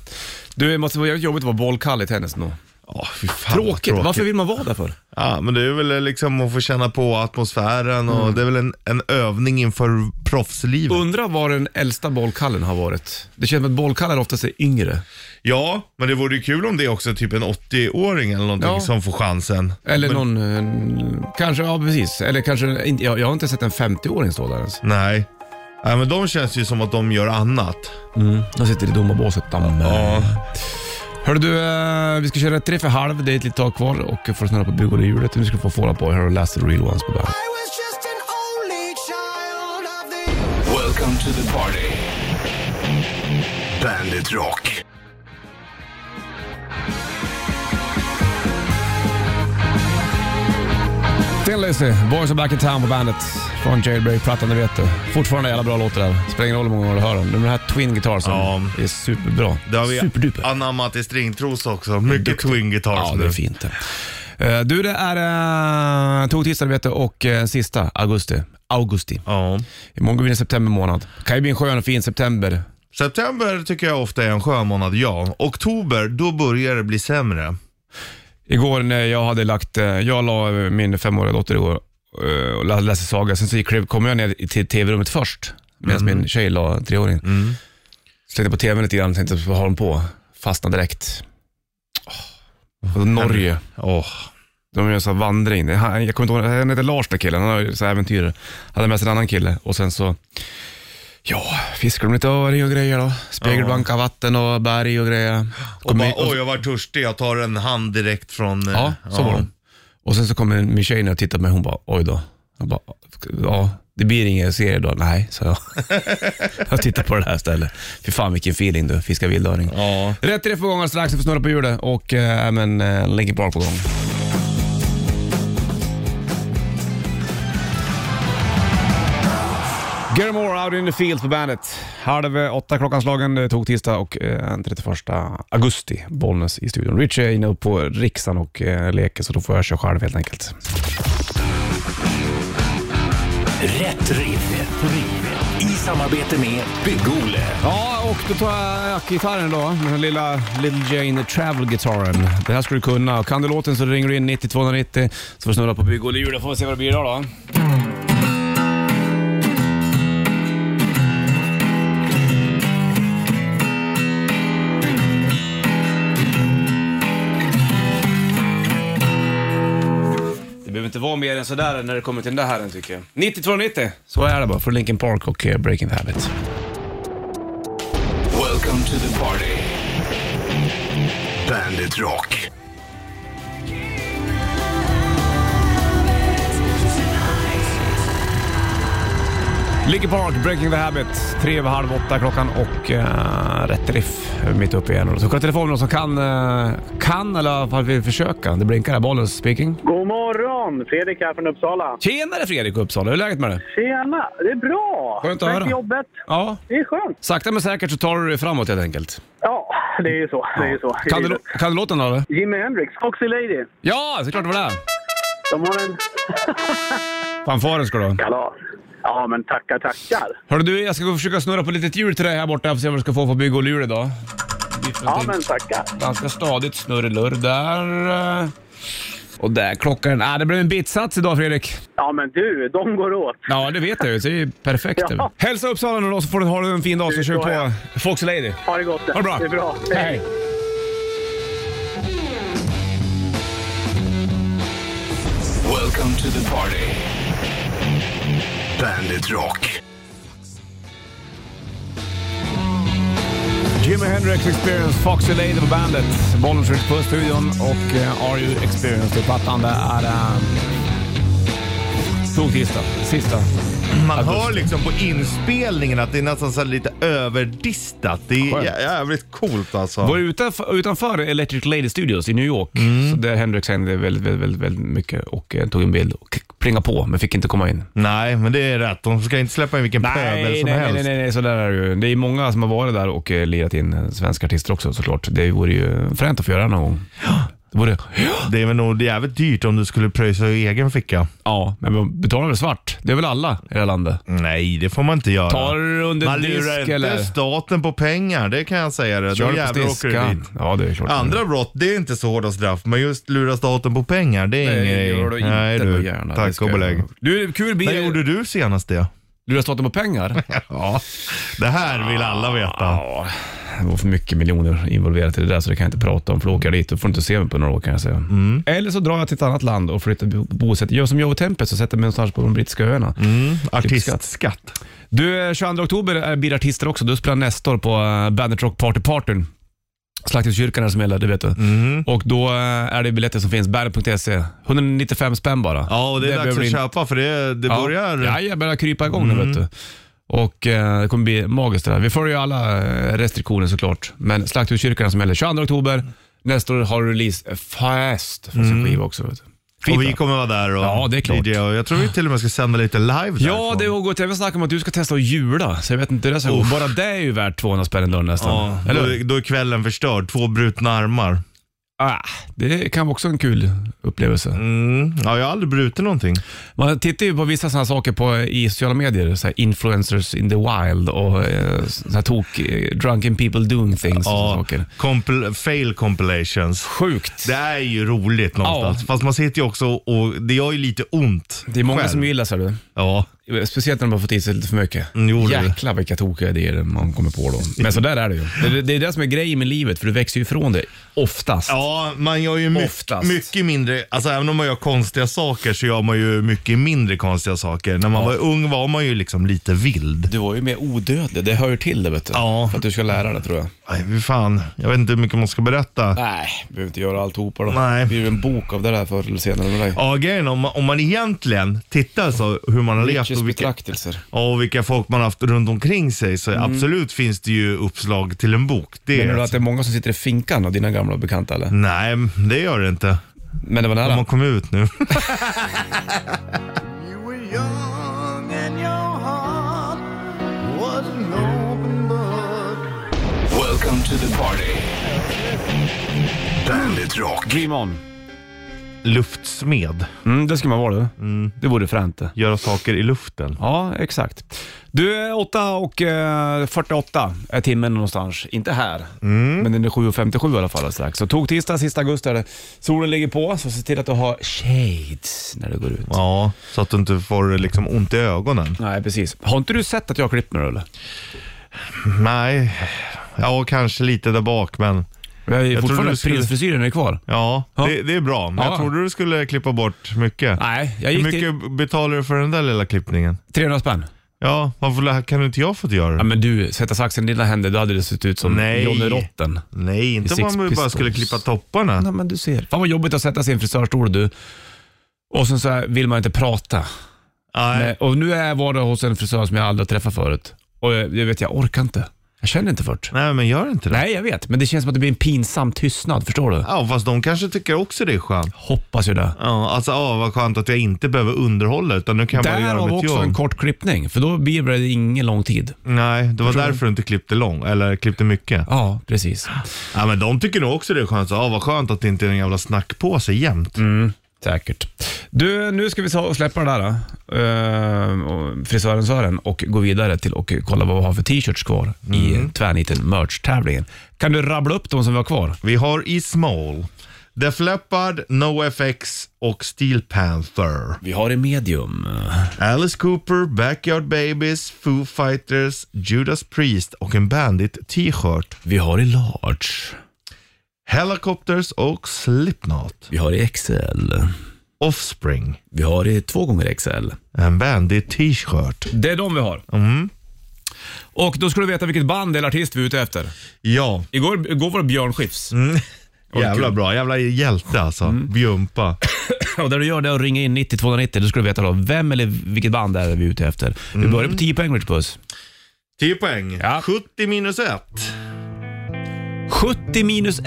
[SPEAKER 2] Du, det måste vara jävligt jobbigt att vara bollkall i tennis nu.
[SPEAKER 3] Ja, fy fan vad
[SPEAKER 2] Tråkigt. Varför vill man vara där för?
[SPEAKER 3] Ja, men det är väl eh, liksom att få känna på atmosfären och
[SPEAKER 2] Mm.
[SPEAKER 3] det är väl en, en övning inför proffslivet.
[SPEAKER 2] Undra vad den äldsta bollkallen har varit. Det känns som att bollkallar oftast är yngre.
[SPEAKER 3] Ja, men det vore ju kul om det är också typ en 80-åring eller någonting
[SPEAKER 2] Ja.
[SPEAKER 3] som får chansen.
[SPEAKER 2] Eller
[SPEAKER 3] men,
[SPEAKER 2] någon... eh, Kanske, ja precis. Eller kanske... inte- Jag, jag har inte sett en 50-åring stå där ens.
[SPEAKER 3] Nej. Nej, men de känns ju som att de gör annat.
[SPEAKER 2] De sitter i domarbåset. Mm. Ja.
[SPEAKER 3] Ja.
[SPEAKER 2] Hörru du, eh, vi ska köra tre för halv. Det är ett litet tag kvar och får snurra på bygghjulet. Nu ska du få fåla på. Här har du Last of the Real Ones på bandet.
[SPEAKER 4] I was just an only child of the
[SPEAKER 1] Welcome to the party. Bandit Rock.
[SPEAKER 2] Det Thin Lizzy, Boys are back in town på bandet. Från Jailbreak-plattan, det vet du. Fortfarande jävla bra låtar där. Spelar ingen roll hur många gånger du hör dem. De här Twin Guitars
[SPEAKER 3] Ja.
[SPEAKER 2] är superbra.
[SPEAKER 3] Det har vi
[SPEAKER 2] Superduper.
[SPEAKER 3] anammat i stringtros också. Mycket twin guitars
[SPEAKER 2] Ja, det är
[SPEAKER 3] nu.
[SPEAKER 2] fint det. Eh, Du, det är uh, tog tisdag du vet du, och eh, sista augusti. Augusti.
[SPEAKER 3] Ja.
[SPEAKER 2] Imorgon går vi in i september månad. Kan ju bli en skön och fin september.
[SPEAKER 3] September tycker jag ofta är en skön månad, ja. Oktober, då börjar det bli sämre.
[SPEAKER 2] Igår när jag hade lagt, eh, jag la eh, min femåriga dotter igår eh, och lä- läste saga. Sen så gick, kom jag ner i- till tv-rummet först medan min tjej la treåringen. Slängde på tvn lite grann tänkte vad har hon på? Fastnade direkt. Åh. Och Norge.
[SPEAKER 3] Åh.
[SPEAKER 2] De gör en sån här vandring. Det- Han, jag kommer inte ihåg, han heter Lars den killen, han har ju så här äventyrare. Hade med sig en annan kille och sen så, ja, fiskar de lite öring och grejer då. Spegelblanka vatten och berg och grejer.
[SPEAKER 3] Och bara,
[SPEAKER 2] Kommer-
[SPEAKER 3] oj jag var törstig, jag tar en hand direkt från... eh,
[SPEAKER 2] Ja, så var de. Och sen så kom en- min tjej ner och tittade på mig hon bara, oj då. Jag bara, ja, det blir ingen serie då. Nej, sa jag. <laughs> jag tittar på det här stället. Fy fan vilken feeling du, fiska vildöring.
[SPEAKER 3] Ja.
[SPEAKER 2] Rätt riff på gång strax, vi får snurra på hjulet och eh, även eh, Linkin Park på gång. Gary Moore, Out in the Fields på bandet. Halv åtta klockan slagen, det tog tisdag och eh, 31 augusti. Bollnäs i studion. Richie är inne upp på riksan och eh, leker, så då får jag köra själv helt enkelt.
[SPEAKER 1] Rätt riff. Rätt riff. I samarbete med Bygg-Ole.
[SPEAKER 2] Ja, och då tar jag gitarren då. Den här lilla Little Jane Travel-gitarren. Det här ska du kunna. Och Kan du låten så ringer du in 90 290 så får du snurra på bygg och lura får vi se vad det blir idag då. Det behöver inte vara mer än sådär när det kommer till den där herren tycker jag. 90 290, så är det bara. För Linkin Park och eh, Breaking the Habit.
[SPEAKER 1] Welcome to the party. Bandit Rock.
[SPEAKER 2] Linkin Park, Breaking the Habit. Tre över halv åtta klockan och eh, rätt riff eh, mitt uppe igen. Så kolla telefonen någon som kan, eh, kan eller i alla fall vill försöka. Det blinkar där, bollen speaking.
[SPEAKER 6] God morgon! Fredrik här från Uppsala.
[SPEAKER 2] Tjenare Fredrik Uppsala, hur är läget med dig?
[SPEAKER 6] Tjena! Det är bra!
[SPEAKER 2] Skönt att
[SPEAKER 6] Tack
[SPEAKER 2] höra.
[SPEAKER 6] jobbet.
[SPEAKER 2] Ja.
[SPEAKER 6] Det är skönt.
[SPEAKER 2] Sakta men säkert så tar du dig framåt helt enkelt.
[SPEAKER 6] Ja, det är ju så. Det är ju så.
[SPEAKER 2] Kan du, kan du låten då eller?
[SPEAKER 6] Jimi Hendrix, Foxy Lady.
[SPEAKER 2] Ja, såklart det var det.
[SPEAKER 6] De har en...
[SPEAKER 2] Fanfaren ska du ha.
[SPEAKER 6] Kalas. Ja, men tackar, tackar.
[SPEAKER 2] Hörru du, jag ska gå och försöka snurra på ett litet hjul till dig här borta för att se vad du ska få för bygg och lur idag.
[SPEAKER 6] Ja, men tackar.
[SPEAKER 2] Ganska stadigt snurrelurr där. eh. Och där klockar den. Ah, det blev en bitsats idag Fredrik.
[SPEAKER 6] Ja, men du, de går åt.
[SPEAKER 2] Ja, det vet jag ju. Så Det är ju perfekt.
[SPEAKER 6] Ja.
[SPEAKER 2] Hälsa Uppsala nu då så får du ha en fin dag så
[SPEAKER 6] Det
[SPEAKER 2] kör vi
[SPEAKER 6] får
[SPEAKER 2] på
[SPEAKER 6] jag.
[SPEAKER 2] Foxy Lady.
[SPEAKER 6] Ha det gott.
[SPEAKER 2] Ha det bra.
[SPEAKER 6] Det är bra.
[SPEAKER 2] Hej.
[SPEAKER 1] Welcome to the party. Bandit Rock.
[SPEAKER 2] Jimi Hendrix Experience, Foxy Lady på bandet. Bollen skjuts på studion och eh, Are You Experienced på plattan. Det är... eh, Tog tisdag. Sista.
[SPEAKER 3] Man hör liksom på inspelningen att det är nästan så här lite överdistat. Det är
[SPEAKER 2] Skönt.
[SPEAKER 3] jä- jävligt coolt alltså.
[SPEAKER 2] Var utanför, utanför Electric Lady Studios i New York. Så där Hendrix hände väldigt, väldigt, väldigt, väldigt mycket och eh, tog en bild och plingade på men fick inte komma in.
[SPEAKER 3] Nej, men det är rätt. De ska inte släppa in vilken pöbel
[SPEAKER 2] Nej, nej,
[SPEAKER 3] som
[SPEAKER 2] nej,
[SPEAKER 3] helst.
[SPEAKER 2] nej, nej, nej, så där är det ju. Det är många som har varit där och eh, lirat in eh, svenska artister också såklart. Det vore ju fränt att få göra någon gång. Det vore,
[SPEAKER 3] Det är väl nog jävligt dyrt om du skulle pröjsa ur egen ficka.
[SPEAKER 2] ja, men man betalar väl svart? Det är väl alla i det här landet?
[SPEAKER 3] Nej, det får man inte göra.
[SPEAKER 2] Tar du under
[SPEAKER 3] man
[SPEAKER 2] disk
[SPEAKER 3] lurar inte
[SPEAKER 2] eller?
[SPEAKER 3] staten på pengar, det kan jag säga. Det.
[SPEAKER 2] Kör
[SPEAKER 3] Då
[SPEAKER 2] du
[SPEAKER 3] jävlar
[SPEAKER 2] på
[SPEAKER 3] åker du dit.
[SPEAKER 2] stiskan? Ja, det är klart.
[SPEAKER 3] Andra brott, det är inte så hårda straff, men just lura staten på pengar, det är
[SPEAKER 2] Nej,
[SPEAKER 3] ingen
[SPEAKER 2] det
[SPEAKER 3] grej.
[SPEAKER 2] gör du inte.
[SPEAKER 3] Nej du,
[SPEAKER 2] gärna. Det
[SPEAKER 3] tack
[SPEAKER 2] ska
[SPEAKER 3] och
[SPEAKER 2] jag-
[SPEAKER 3] belägg.
[SPEAKER 2] Du, kul bil.
[SPEAKER 3] När gjorde du senast det?
[SPEAKER 2] Du har staten på pengar?
[SPEAKER 3] <laughs>
[SPEAKER 2] ja.
[SPEAKER 3] Det här vill alla veta.
[SPEAKER 2] ja. Det var för mycket miljoner involverat i det där så det kan jag inte prata om. För då åker jag dit och får inte se mig på några år kan jag säga.
[SPEAKER 3] Mm.
[SPEAKER 2] Eller så drar jag till ett annat land och flyttar bo- bosätter. Gör som jag och Tempest och sätter mig någonstans på de brittiska öarna.
[SPEAKER 3] Mm. typ Artistskatt.
[SPEAKER 2] Du, eh, 22 oktober är- blir artister också. Du spelar Nestor på eh, Bandit Rock Party Partyn. Slakterskyrkan är det som gäller, det vet du.
[SPEAKER 3] Mm.
[SPEAKER 2] Och då eh, är det biljetter som finns, bandit.se. 195 E. spänn bara.
[SPEAKER 3] Ja, och det är dags
[SPEAKER 2] behöver
[SPEAKER 3] att
[SPEAKER 2] du inte-
[SPEAKER 3] köpa för det, det börjar... Mm.
[SPEAKER 2] Ja, jag börjar krypa igång nu vet du. Och eh, det kommer bli magiskt det där. Vi följer ju alla eh, restriktioner såklart. Men Slakthuskyrkan som gäller 22 oktober. Nästa år har du releasefest för sin skiva också. Vet du. Fint,
[SPEAKER 3] Mm. och vi
[SPEAKER 2] va?
[SPEAKER 3] kommer vara där och
[SPEAKER 2] Ja, det är klart.
[SPEAKER 3] DJ och jag tror vi till och med ska sända lite live
[SPEAKER 2] Ja,
[SPEAKER 3] därifrån.
[SPEAKER 2] det har gått även snack om att du ska testa att jula, så jag vet inte hur det ska gå. Bara det är ju värt 200 spänn en lördag nästan.
[SPEAKER 3] Ja,
[SPEAKER 2] Eller
[SPEAKER 3] då,
[SPEAKER 2] hur?
[SPEAKER 3] är- då är kvällen förstörd. Två brutna armar.
[SPEAKER 2] ah, Det kan vara också en kul upplevelse.
[SPEAKER 3] Mm. Ja, jag har aldrig brutit någonting.
[SPEAKER 2] Man tittar ju på vissa sådana saker på, i sociala medier, så här influencers in the wild och eh, såna här tok, eh, drunken people doing things och såna
[SPEAKER 3] Ja,
[SPEAKER 2] saker.
[SPEAKER 3] compil- fail compilations.
[SPEAKER 2] Sjukt.
[SPEAKER 3] Det är ju roligt någonstans.
[SPEAKER 2] Ja.
[SPEAKER 3] Fast man sitter ju också och det gör ju lite ont.
[SPEAKER 2] Det är många
[SPEAKER 3] själv.
[SPEAKER 2] som gillar ser du.
[SPEAKER 3] Ja.
[SPEAKER 2] Speciellt när de har fått i sig lite för mycket.
[SPEAKER 3] Mm, jo, det.
[SPEAKER 2] Jäklar vilka tokiga idéer man kommer på då. Men så där är det ju. Det, det är det som är grejen med livet, för du växer ju ifrån det. Oftast.
[SPEAKER 3] Ja, man gör ju my-
[SPEAKER 2] Oftast.
[SPEAKER 3] mycket mindre, alltså även om man gör konstiga saker så gör man ju mycket mindre konstiga saker. När man var ung var man ju liksom lite vild.
[SPEAKER 2] Du var ju mer odödlig, det hör ju till det vet du.
[SPEAKER 3] Ja.
[SPEAKER 2] För att du ska lära dig tror jag.
[SPEAKER 3] Nej, fy fan. Jag vet inte hur mycket man ska berätta.
[SPEAKER 2] Nej, vi behöver inte göra alltihopa då.
[SPEAKER 3] Nej.
[SPEAKER 2] Det blir ju en bok av det där förr eller senare med dig.
[SPEAKER 3] Ja, grejen om man, om man egentligen tittar så hur man har levt
[SPEAKER 2] Nietzsches
[SPEAKER 3] och vilka,
[SPEAKER 2] betraktelser.
[SPEAKER 3] ja, och vilka folk man har haft runt omkring sig så absolut finns det ju uppslag till en bok. Det är
[SPEAKER 2] Menar du att
[SPEAKER 3] alltså-
[SPEAKER 2] det är många som sitter i finkan av dina gamla bekanta eller?
[SPEAKER 3] Nej, det gör det inte.
[SPEAKER 2] Men det var
[SPEAKER 3] Om man
[SPEAKER 2] nära.
[SPEAKER 3] kom ut nu.
[SPEAKER 4] You were young and your heart was an open book.
[SPEAKER 1] Welcome to the party. Bandit Rock.
[SPEAKER 2] Dream on.
[SPEAKER 3] <laughs> Luftsmed.
[SPEAKER 2] Mm, det ska man vara du. Det vore fränt det.
[SPEAKER 3] Göra saker i luften.
[SPEAKER 2] Ja, exakt. Du, är 8 och eh, 48 är timmen någonstans. Inte här,
[SPEAKER 3] Mm.
[SPEAKER 2] men den är 7.57 i alla fall strax. Så tog tisdag, sista augusti är det. Solen ligger på, så se till att du har shades när du går ut.
[SPEAKER 3] Ja, så att du inte får liksom ont i ögonen.
[SPEAKER 2] Nej, precis. Har inte du sett att jag har klippt mig då, eller?
[SPEAKER 3] Nej, ja kanske lite där bak men
[SPEAKER 2] Jag är
[SPEAKER 3] trodde
[SPEAKER 2] fortfarande
[SPEAKER 3] du skulle-
[SPEAKER 2] prinsfrisyren är kvar.
[SPEAKER 3] ja,
[SPEAKER 2] Ja.
[SPEAKER 3] Det, det är bra. Men
[SPEAKER 2] Ja.
[SPEAKER 3] jag trodde du skulle klippa bort mycket.
[SPEAKER 2] Nej, jag
[SPEAKER 3] Hur
[SPEAKER 2] gick till
[SPEAKER 3] mycket betalar du för den där lilla klippningen?
[SPEAKER 2] 300 spänn.
[SPEAKER 3] Ja, varför lä- kan inte jag få göra det?
[SPEAKER 2] Ja, men du, sätta saxen i dina händer, då hade det sett ut som
[SPEAKER 3] Nej.
[SPEAKER 2] Johnny Rotten.
[SPEAKER 3] Nej, inte
[SPEAKER 2] Six
[SPEAKER 3] om man bara
[SPEAKER 2] Pistols.
[SPEAKER 3] skulle klippa topparna.
[SPEAKER 2] Nej, men du ser. Fan vad jobbigt att sätta sig i en frisörstol du. Och sen så här, vill man inte prata.
[SPEAKER 3] Nej.
[SPEAKER 2] Nej, och nu är jag var hos en frisör som jag aldrig har träffat förut. Och jag, jag vet, jag orkar inte. Jag känner inte för det.
[SPEAKER 3] Nej, men gör inte det.
[SPEAKER 2] Nej, jag vet. Men det känns som att det blir en pinsam tystnad, förstår du?
[SPEAKER 3] Ja, fast de kanske tycker också det är skönt.
[SPEAKER 2] Hoppas ju det.
[SPEAKER 3] Ja, alltså ja, vad skönt att jag inte behöver underhålla utan nu kan jag bara göra
[SPEAKER 2] Därav
[SPEAKER 3] mitt
[SPEAKER 2] också
[SPEAKER 3] jobb.
[SPEAKER 2] en kort klippning, för då blir det ingen lång tid.
[SPEAKER 3] Nej, det var därför du inte klippte lång, eller klippte mycket.
[SPEAKER 2] Ja, precis.
[SPEAKER 3] Ja, men de tycker nog också det är skönt. Så, ja, vad skönt att det inte är en jävla snackpåse jämt.
[SPEAKER 2] Säkert. Du, nu ska vi ta och släppa det där. då. Ehm, och frisören Sören och gå vidare till och kolla vad vi har för t-shirts kvar i tvärniten merch-tävlingen. Kan du rabbla upp de som vi har kvar?
[SPEAKER 3] Vi har i Small, Def Leppard, NoFX och Steel Panther.
[SPEAKER 2] Vi har i medium.
[SPEAKER 3] Alice Cooper, Backyard Babies, Foo Fighters, Judas Priest och en Bandit-t-shirt.
[SPEAKER 2] Vi har i large.
[SPEAKER 3] Helicopters och Slipknot.
[SPEAKER 2] Vi har i XL.
[SPEAKER 3] Offspring,
[SPEAKER 2] Vi har i två gånger XL.
[SPEAKER 3] en Bandit-t-shirt.
[SPEAKER 2] Det är de vi har. Och då ska du veta vilket band eller artist vi är ute efter.
[SPEAKER 3] Ja,
[SPEAKER 2] Igår, igår var det Björn Skifs.
[SPEAKER 3] jävla bra. Jävla hjälte alltså. <clears throat> Bjumpa.
[SPEAKER 2] Och där du gör det och ringer in 90 290, då ska du veta då vem eller vilket band är vi är ute efter. Vi börjar på 10 poäng, Rich Puss.
[SPEAKER 3] 10 poäng.
[SPEAKER 2] Ja.
[SPEAKER 3] 70 minus 1.
[SPEAKER 2] 70 minus 1.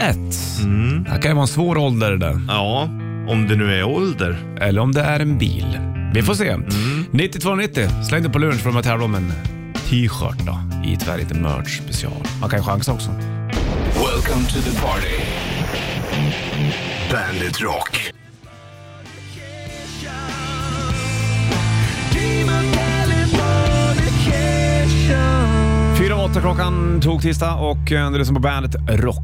[SPEAKER 2] Det här kan ju vara en svår ålder det där.
[SPEAKER 3] Ja, om det nu är ålder.
[SPEAKER 2] Eller om det är en bil. Vi får se. 9290, släng dig på luren så får de tävla om en t-shirt då, i Tvärnit Merch special. Man kan ju chansa också.
[SPEAKER 1] Welcome to the party. Bandit Rock.
[SPEAKER 2] Fyra och åtta klockan tog tisdag och eh, du lyssnar på bandet Rock.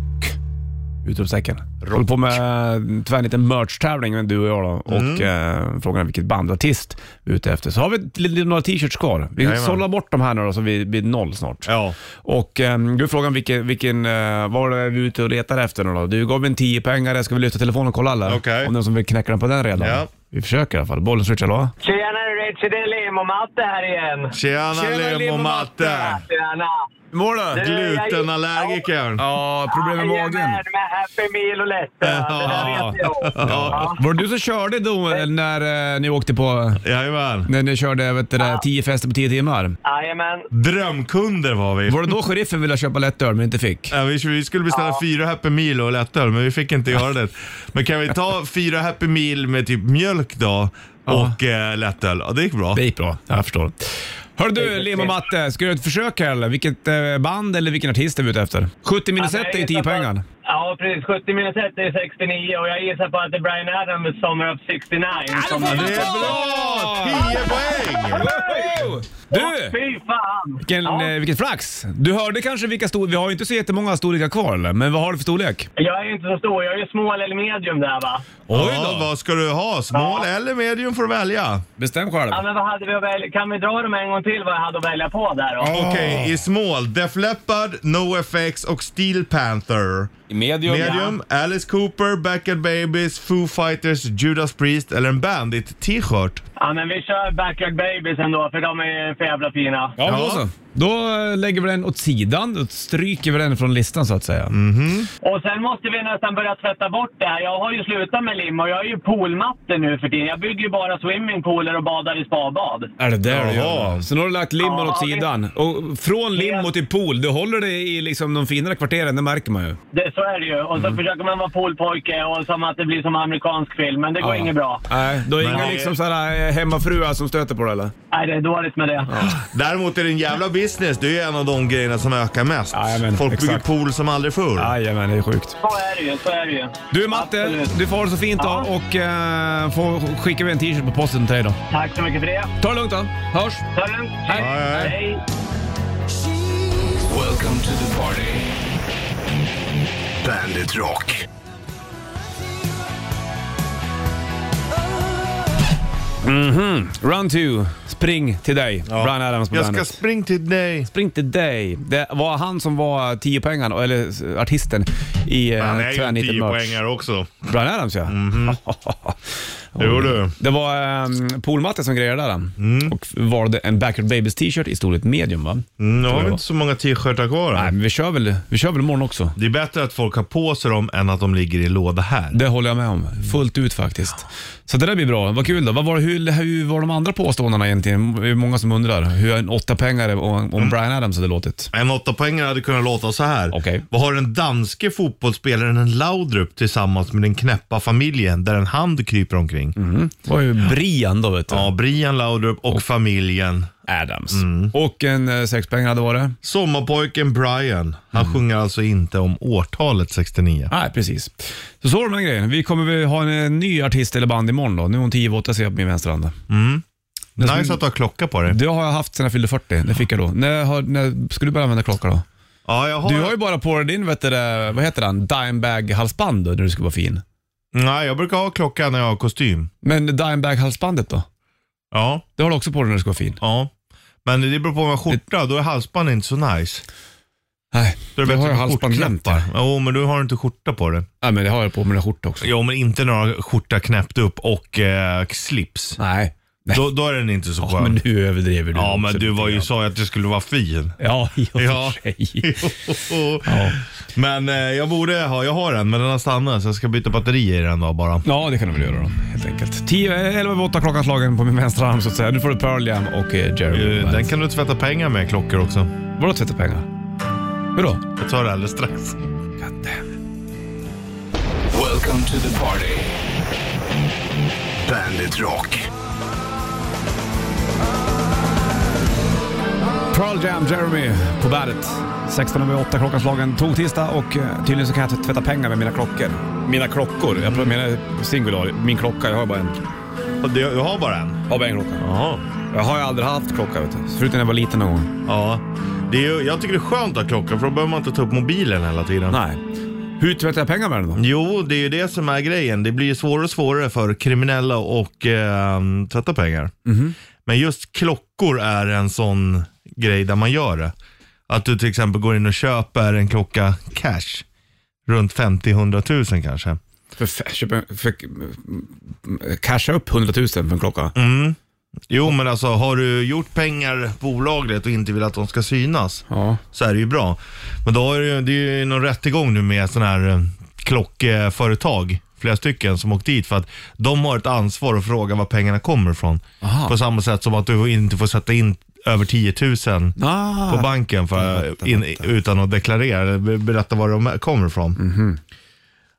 [SPEAKER 2] Utropstecken. Håller på med eh, tyvärr en liten merch-tävling men du och jag då. Och
[SPEAKER 3] Mm.
[SPEAKER 2] eh, frågan är vilket band och artist vi är ute efter. Så har vi ett- lite- några t-shirts kvar. Vi
[SPEAKER 3] Jajamän.
[SPEAKER 2] sållar bort de här nu då så vi blir noll snart.
[SPEAKER 3] Ja.
[SPEAKER 2] Och eh, du frågan vilken, vilken eh, vad är vi är ute och letar efter nu då? Du gav mig en 10 pengar ska vi lyfta telefonen och kolla eller?
[SPEAKER 3] Okej.
[SPEAKER 2] Om någon som vill knäcka den på den redan.
[SPEAKER 3] Ja.
[SPEAKER 2] Vi försöker i alla fall. Bollen switch, hallå?
[SPEAKER 7] Tjenare Richie, det är Lemo-Matte här igen.
[SPEAKER 3] Tjena, Tjena Lemo Matte.
[SPEAKER 7] Tjena!
[SPEAKER 2] Hur mår du?
[SPEAKER 3] Glutenallergikern.
[SPEAKER 2] Ja, problem med magen.
[SPEAKER 7] Jajamän, med Happy Meal och lättöl. Det där vet jag.
[SPEAKER 2] Ja. Var det du som körde då eh, när eh, ni åkte på...
[SPEAKER 3] Jajamän.
[SPEAKER 2] När ni körde eh, vet du, det där, 10 fester på 10 timmar?
[SPEAKER 7] Jajamän.
[SPEAKER 3] Drömkunder var vi.
[SPEAKER 2] Var det då sheriffen ville köpa lättöl men inte fick?
[SPEAKER 3] Ja, vi, vi skulle beställa fyra Happy Meal och lättöl, men vi fick inte göra det. Men kan vi ta fyra Happy Meal med typ mjölk då och eh, lättöl? Ja, det gick bra.
[SPEAKER 2] Det gick bra, jag förstår. Hör du Lim och Matte, ska du göra ett försök här eller? Vilket eh, band eller vilken artist är vi ute efter? 70 minus 1 är ju 10 poängen.
[SPEAKER 7] Ja, precis. 70 minus 1 är 69 och jag gissar på att det är Brian Adams med Summer of 69.
[SPEAKER 2] Alltså,
[SPEAKER 7] Som
[SPEAKER 3] Det är bra! 10 poäng!
[SPEAKER 2] Du!
[SPEAKER 7] Fy fan!
[SPEAKER 2] Vilken,
[SPEAKER 7] Ja.
[SPEAKER 2] eh, vilket flax! Du hörde kanske vilka stor... Vi har ju inte så jättemånga storlekar kvar eller? Men vad har du för storlek?
[SPEAKER 7] Jag är ju inte så stor. Jag är ju small eller medium där va.
[SPEAKER 2] Oj
[SPEAKER 3] Ja,
[SPEAKER 2] då!
[SPEAKER 3] vad ska du ha? Smal eller medium får du välja.
[SPEAKER 2] Bestäm själv.
[SPEAKER 7] Ja, men vad hade vi att välja? Kan vi dra dem en gång till vad jag hade att välja på där då?
[SPEAKER 3] Okej, i smål. Def Leppard, NoFX och Steel Panther.
[SPEAKER 2] Medium.
[SPEAKER 3] Medium, Alice Cooper, Backyard Babies, Foo Fighters, Judas Priest eller en Bandit-t-shirt.
[SPEAKER 7] Ja, men vi kör Backyard Babies ändå för de är för jävla fina.
[SPEAKER 2] Ja, men då
[SPEAKER 3] Ja.
[SPEAKER 2] så. Då eh, lägger vi den åt sidan. Då stryker vi den från listan så att säga.
[SPEAKER 7] Och sen måste vi nästan börja tvätta bort det här. Jag har ju slutat med lim och jag är ju poolmatte nu för tiden. Jag bygger ju bara swimmingpooler och badar i spabad.
[SPEAKER 2] Är det där du
[SPEAKER 3] Jaha.
[SPEAKER 2] gör? Sen har du lagt limmen
[SPEAKER 7] Ja,
[SPEAKER 2] åt
[SPEAKER 7] det-
[SPEAKER 2] sidan. Och från lim och till pool, du håller dig i liksom de finare kvarteren, det märker man ju.
[SPEAKER 7] Det, så är det ju. Och så försöker man vara poolpojke och som att det blir som amerikansk film, men det går
[SPEAKER 2] Ja.
[SPEAKER 7] inget bra.
[SPEAKER 2] Nej, då är
[SPEAKER 3] Men-
[SPEAKER 2] inga liksom sådana hemmafruar som stöter på det eller?
[SPEAKER 7] Nej, det är dåligt med det.
[SPEAKER 3] Däremot är det en jävla business. Det är ju en av de grejerna som ökar mest.
[SPEAKER 2] Jajamän,
[SPEAKER 3] Folk bygger
[SPEAKER 2] exakt.
[SPEAKER 3] pool som aldrig förr.
[SPEAKER 2] Jajamän, det är sjukt.
[SPEAKER 7] Så är det ju, så är det ju.
[SPEAKER 2] Du Matte,
[SPEAKER 7] Absolut.
[SPEAKER 2] du får ha det så fint då
[SPEAKER 7] Ja.
[SPEAKER 2] och eh, får, skickar vi en t-shirt på posten till dig då.
[SPEAKER 7] Tack så mycket för det.
[SPEAKER 2] Ta det lugnt då, hörs!
[SPEAKER 7] Ta det lugnt.
[SPEAKER 3] hej, hej.
[SPEAKER 7] Hej.
[SPEAKER 1] Welcome to the party. Bandit Rock.
[SPEAKER 2] Run to, spring till dig.
[SPEAKER 3] Ja.
[SPEAKER 2] Brian Adams på
[SPEAKER 3] Jag ska
[SPEAKER 2] bandet.
[SPEAKER 3] springa till dig.
[SPEAKER 2] Spring till dig. Det var han som var 10 pengarna eller eh, artisten i
[SPEAKER 3] Han
[SPEAKER 2] eh,
[SPEAKER 3] är ju en
[SPEAKER 2] Tvärniten Merch.
[SPEAKER 3] tiopoängare Mhm. också.
[SPEAKER 2] Brian Adams ja.
[SPEAKER 3] Jo du.
[SPEAKER 2] <laughs> Det var um, Polmatte som grejade där
[SPEAKER 3] Mm.
[SPEAKER 2] och valde en Backyard Babies t-shirt i storlek medium va?
[SPEAKER 3] Mm, Nu har
[SPEAKER 2] jag
[SPEAKER 3] vi
[SPEAKER 2] var.
[SPEAKER 3] inte så många t-shirtar kvar.
[SPEAKER 2] Nej,
[SPEAKER 3] här.
[SPEAKER 2] men vi kör väl, vi kör väl imorgon också.
[SPEAKER 3] Det är bättre att folk har på sig dem än att de ligger i låda här.
[SPEAKER 2] Det håller jag med om, fullt ut faktiskt. Så det där blir bra. Vad kul då. Vad var, hur, hur var de andra påståendena egentligen? Det är många som undrar. Hur en åtta pengar om
[SPEAKER 3] Mm.
[SPEAKER 2] om Brian Adams hade låtit.
[SPEAKER 3] En åttapoängare hade kunnat låta så här.
[SPEAKER 2] Okej.
[SPEAKER 3] Vad har den danske fotbollsspelaren Laudrup tillsammans med den knäppa familjen där en hand kryper omkring?
[SPEAKER 2] Det var ju Brian då vet du.
[SPEAKER 3] Ja, Brian Laudrup och familjen.
[SPEAKER 2] Adams.
[SPEAKER 3] Mm.
[SPEAKER 2] Och en eh, sexpengare hade varit.
[SPEAKER 3] Sommarpojken Brian. Han
[SPEAKER 2] Mm.
[SPEAKER 3] sjunger alltså inte om årtalet 69.
[SPEAKER 2] Nej, precis. Så så var det med den grejen. Vi kommer väl ha en eh, ny artist eller band imorgon då. Nu är hon 10 8 ser jag på min vänsterhand.
[SPEAKER 3] Mm. Nice att du har klocka på dig.
[SPEAKER 2] Det har jag haft sedan jag fyllde 40. Det fick jag då. När, har, när ska du börja använda klocka då?
[SPEAKER 3] Ja, jag har...
[SPEAKER 2] Du har ju bara på dig din, vet du, det, vad heter den, Dimebag-halsband då, när du ska vara fin.
[SPEAKER 3] Nej, jag brukar ha klocka när jag har kostym.
[SPEAKER 2] Men Dimebag-halsbandet då?
[SPEAKER 3] Ja,
[SPEAKER 2] Det har du också på dig när du ska vara fin.
[SPEAKER 3] ja. Men det beror på om jag har skjorta, då är halsband inte så nice.
[SPEAKER 2] Nej,
[SPEAKER 3] Då är det
[SPEAKER 2] jag har
[SPEAKER 3] bättre
[SPEAKER 2] ju
[SPEAKER 3] med
[SPEAKER 2] halsband jämt.
[SPEAKER 3] skjortknappar. Jo, men du har inte skjorta på dig.
[SPEAKER 2] Nej, men det har jag på mina skjortor också.
[SPEAKER 3] Jo, men inte några skjorta knäppt upp och eh, slips.
[SPEAKER 2] Nej. Nej.
[SPEAKER 3] Då, då är den inte så
[SPEAKER 2] <laughs> Ja, men
[SPEAKER 3] skön.
[SPEAKER 2] nu överdriver du.
[SPEAKER 3] Ja, men
[SPEAKER 2] också
[SPEAKER 3] du
[SPEAKER 2] lite
[SPEAKER 3] var ju
[SPEAKER 2] grann.
[SPEAKER 3] sa ju att det skulle vara fin.
[SPEAKER 2] Ja, i och
[SPEAKER 3] Ja.
[SPEAKER 2] för sig.
[SPEAKER 3] ja. <laughs> Men eh, jag borde ha, jag har en, men den har stannat så jag ska byta batteri i den då bara.
[SPEAKER 2] Ja, det kan du väl göra då, helt enkelt. 10, 11 över 8 klockan slagen på min vänstra arm så att säga. Nu får du Pearl Jam och eh, Jeremy.
[SPEAKER 3] Eh,
[SPEAKER 2] Benz.
[SPEAKER 3] Den kan du tvätta pengar med, klockor också.
[SPEAKER 2] Vadå tvätta pengar? Hur då?
[SPEAKER 3] Jag tar det alldeles strax.
[SPEAKER 1] Welcome to the party. Bandit Rock.
[SPEAKER 2] Pearl Jam, Jeremy på bandet. 16 över 8 klockan slagen tog tisdag och eh, tydligen så kan jag tvätta pengar med mina klockor. Mina klockor? Jag menar singular. Min klocka, jag har bara en.
[SPEAKER 3] Och det- Du har bara en?
[SPEAKER 2] Jag har bara en klocka.
[SPEAKER 3] Jaha.
[SPEAKER 2] Jag har ju aldrig haft klocka vet du. Förutom när jag var liten någon gång.
[SPEAKER 3] Ja. Det är ju, jag tycker det är skönt att ha klocka för då behöver man inte ta upp mobilen hela tiden.
[SPEAKER 2] Nej. Hur tvättar jag pengar med den då?
[SPEAKER 3] Jo, det är ju det som är grejen. Det blir ju svårare och svårare för kriminella och eh, tvätta pengar. Men just klockor är en sån grej där man gör det. Att du till exempel går in och köper en klocka cash. Runt 50-100 000 kanske.
[SPEAKER 2] Mm. För, för, för, för, för, casha upp 100 000 för en klocka?
[SPEAKER 3] Jo, men alltså har du gjort pengar på olagligt och inte vill att de ska synas
[SPEAKER 2] Ja.
[SPEAKER 3] så är det ju bra. Men då är det, ju, det är ju någon rättegång nu med sådana här eh, klockföretag, flera stycken som åkt dit för att de har ett ansvar att fråga var pengarna kommer ifrån.
[SPEAKER 2] Aha.
[SPEAKER 3] På samma sätt som att du inte får sätta in över 10 000
[SPEAKER 2] Ah.
[SPEAKER 3] på banken för,
[SPEAKER 2] Vänta,
[SPEAKER 3] in,
[SPEAKER 2] vänta.
[SPEAKER 3] utan att deklarera, eller be- berätta var de kommer ifrån.
[SPEAKER 2] Mhm.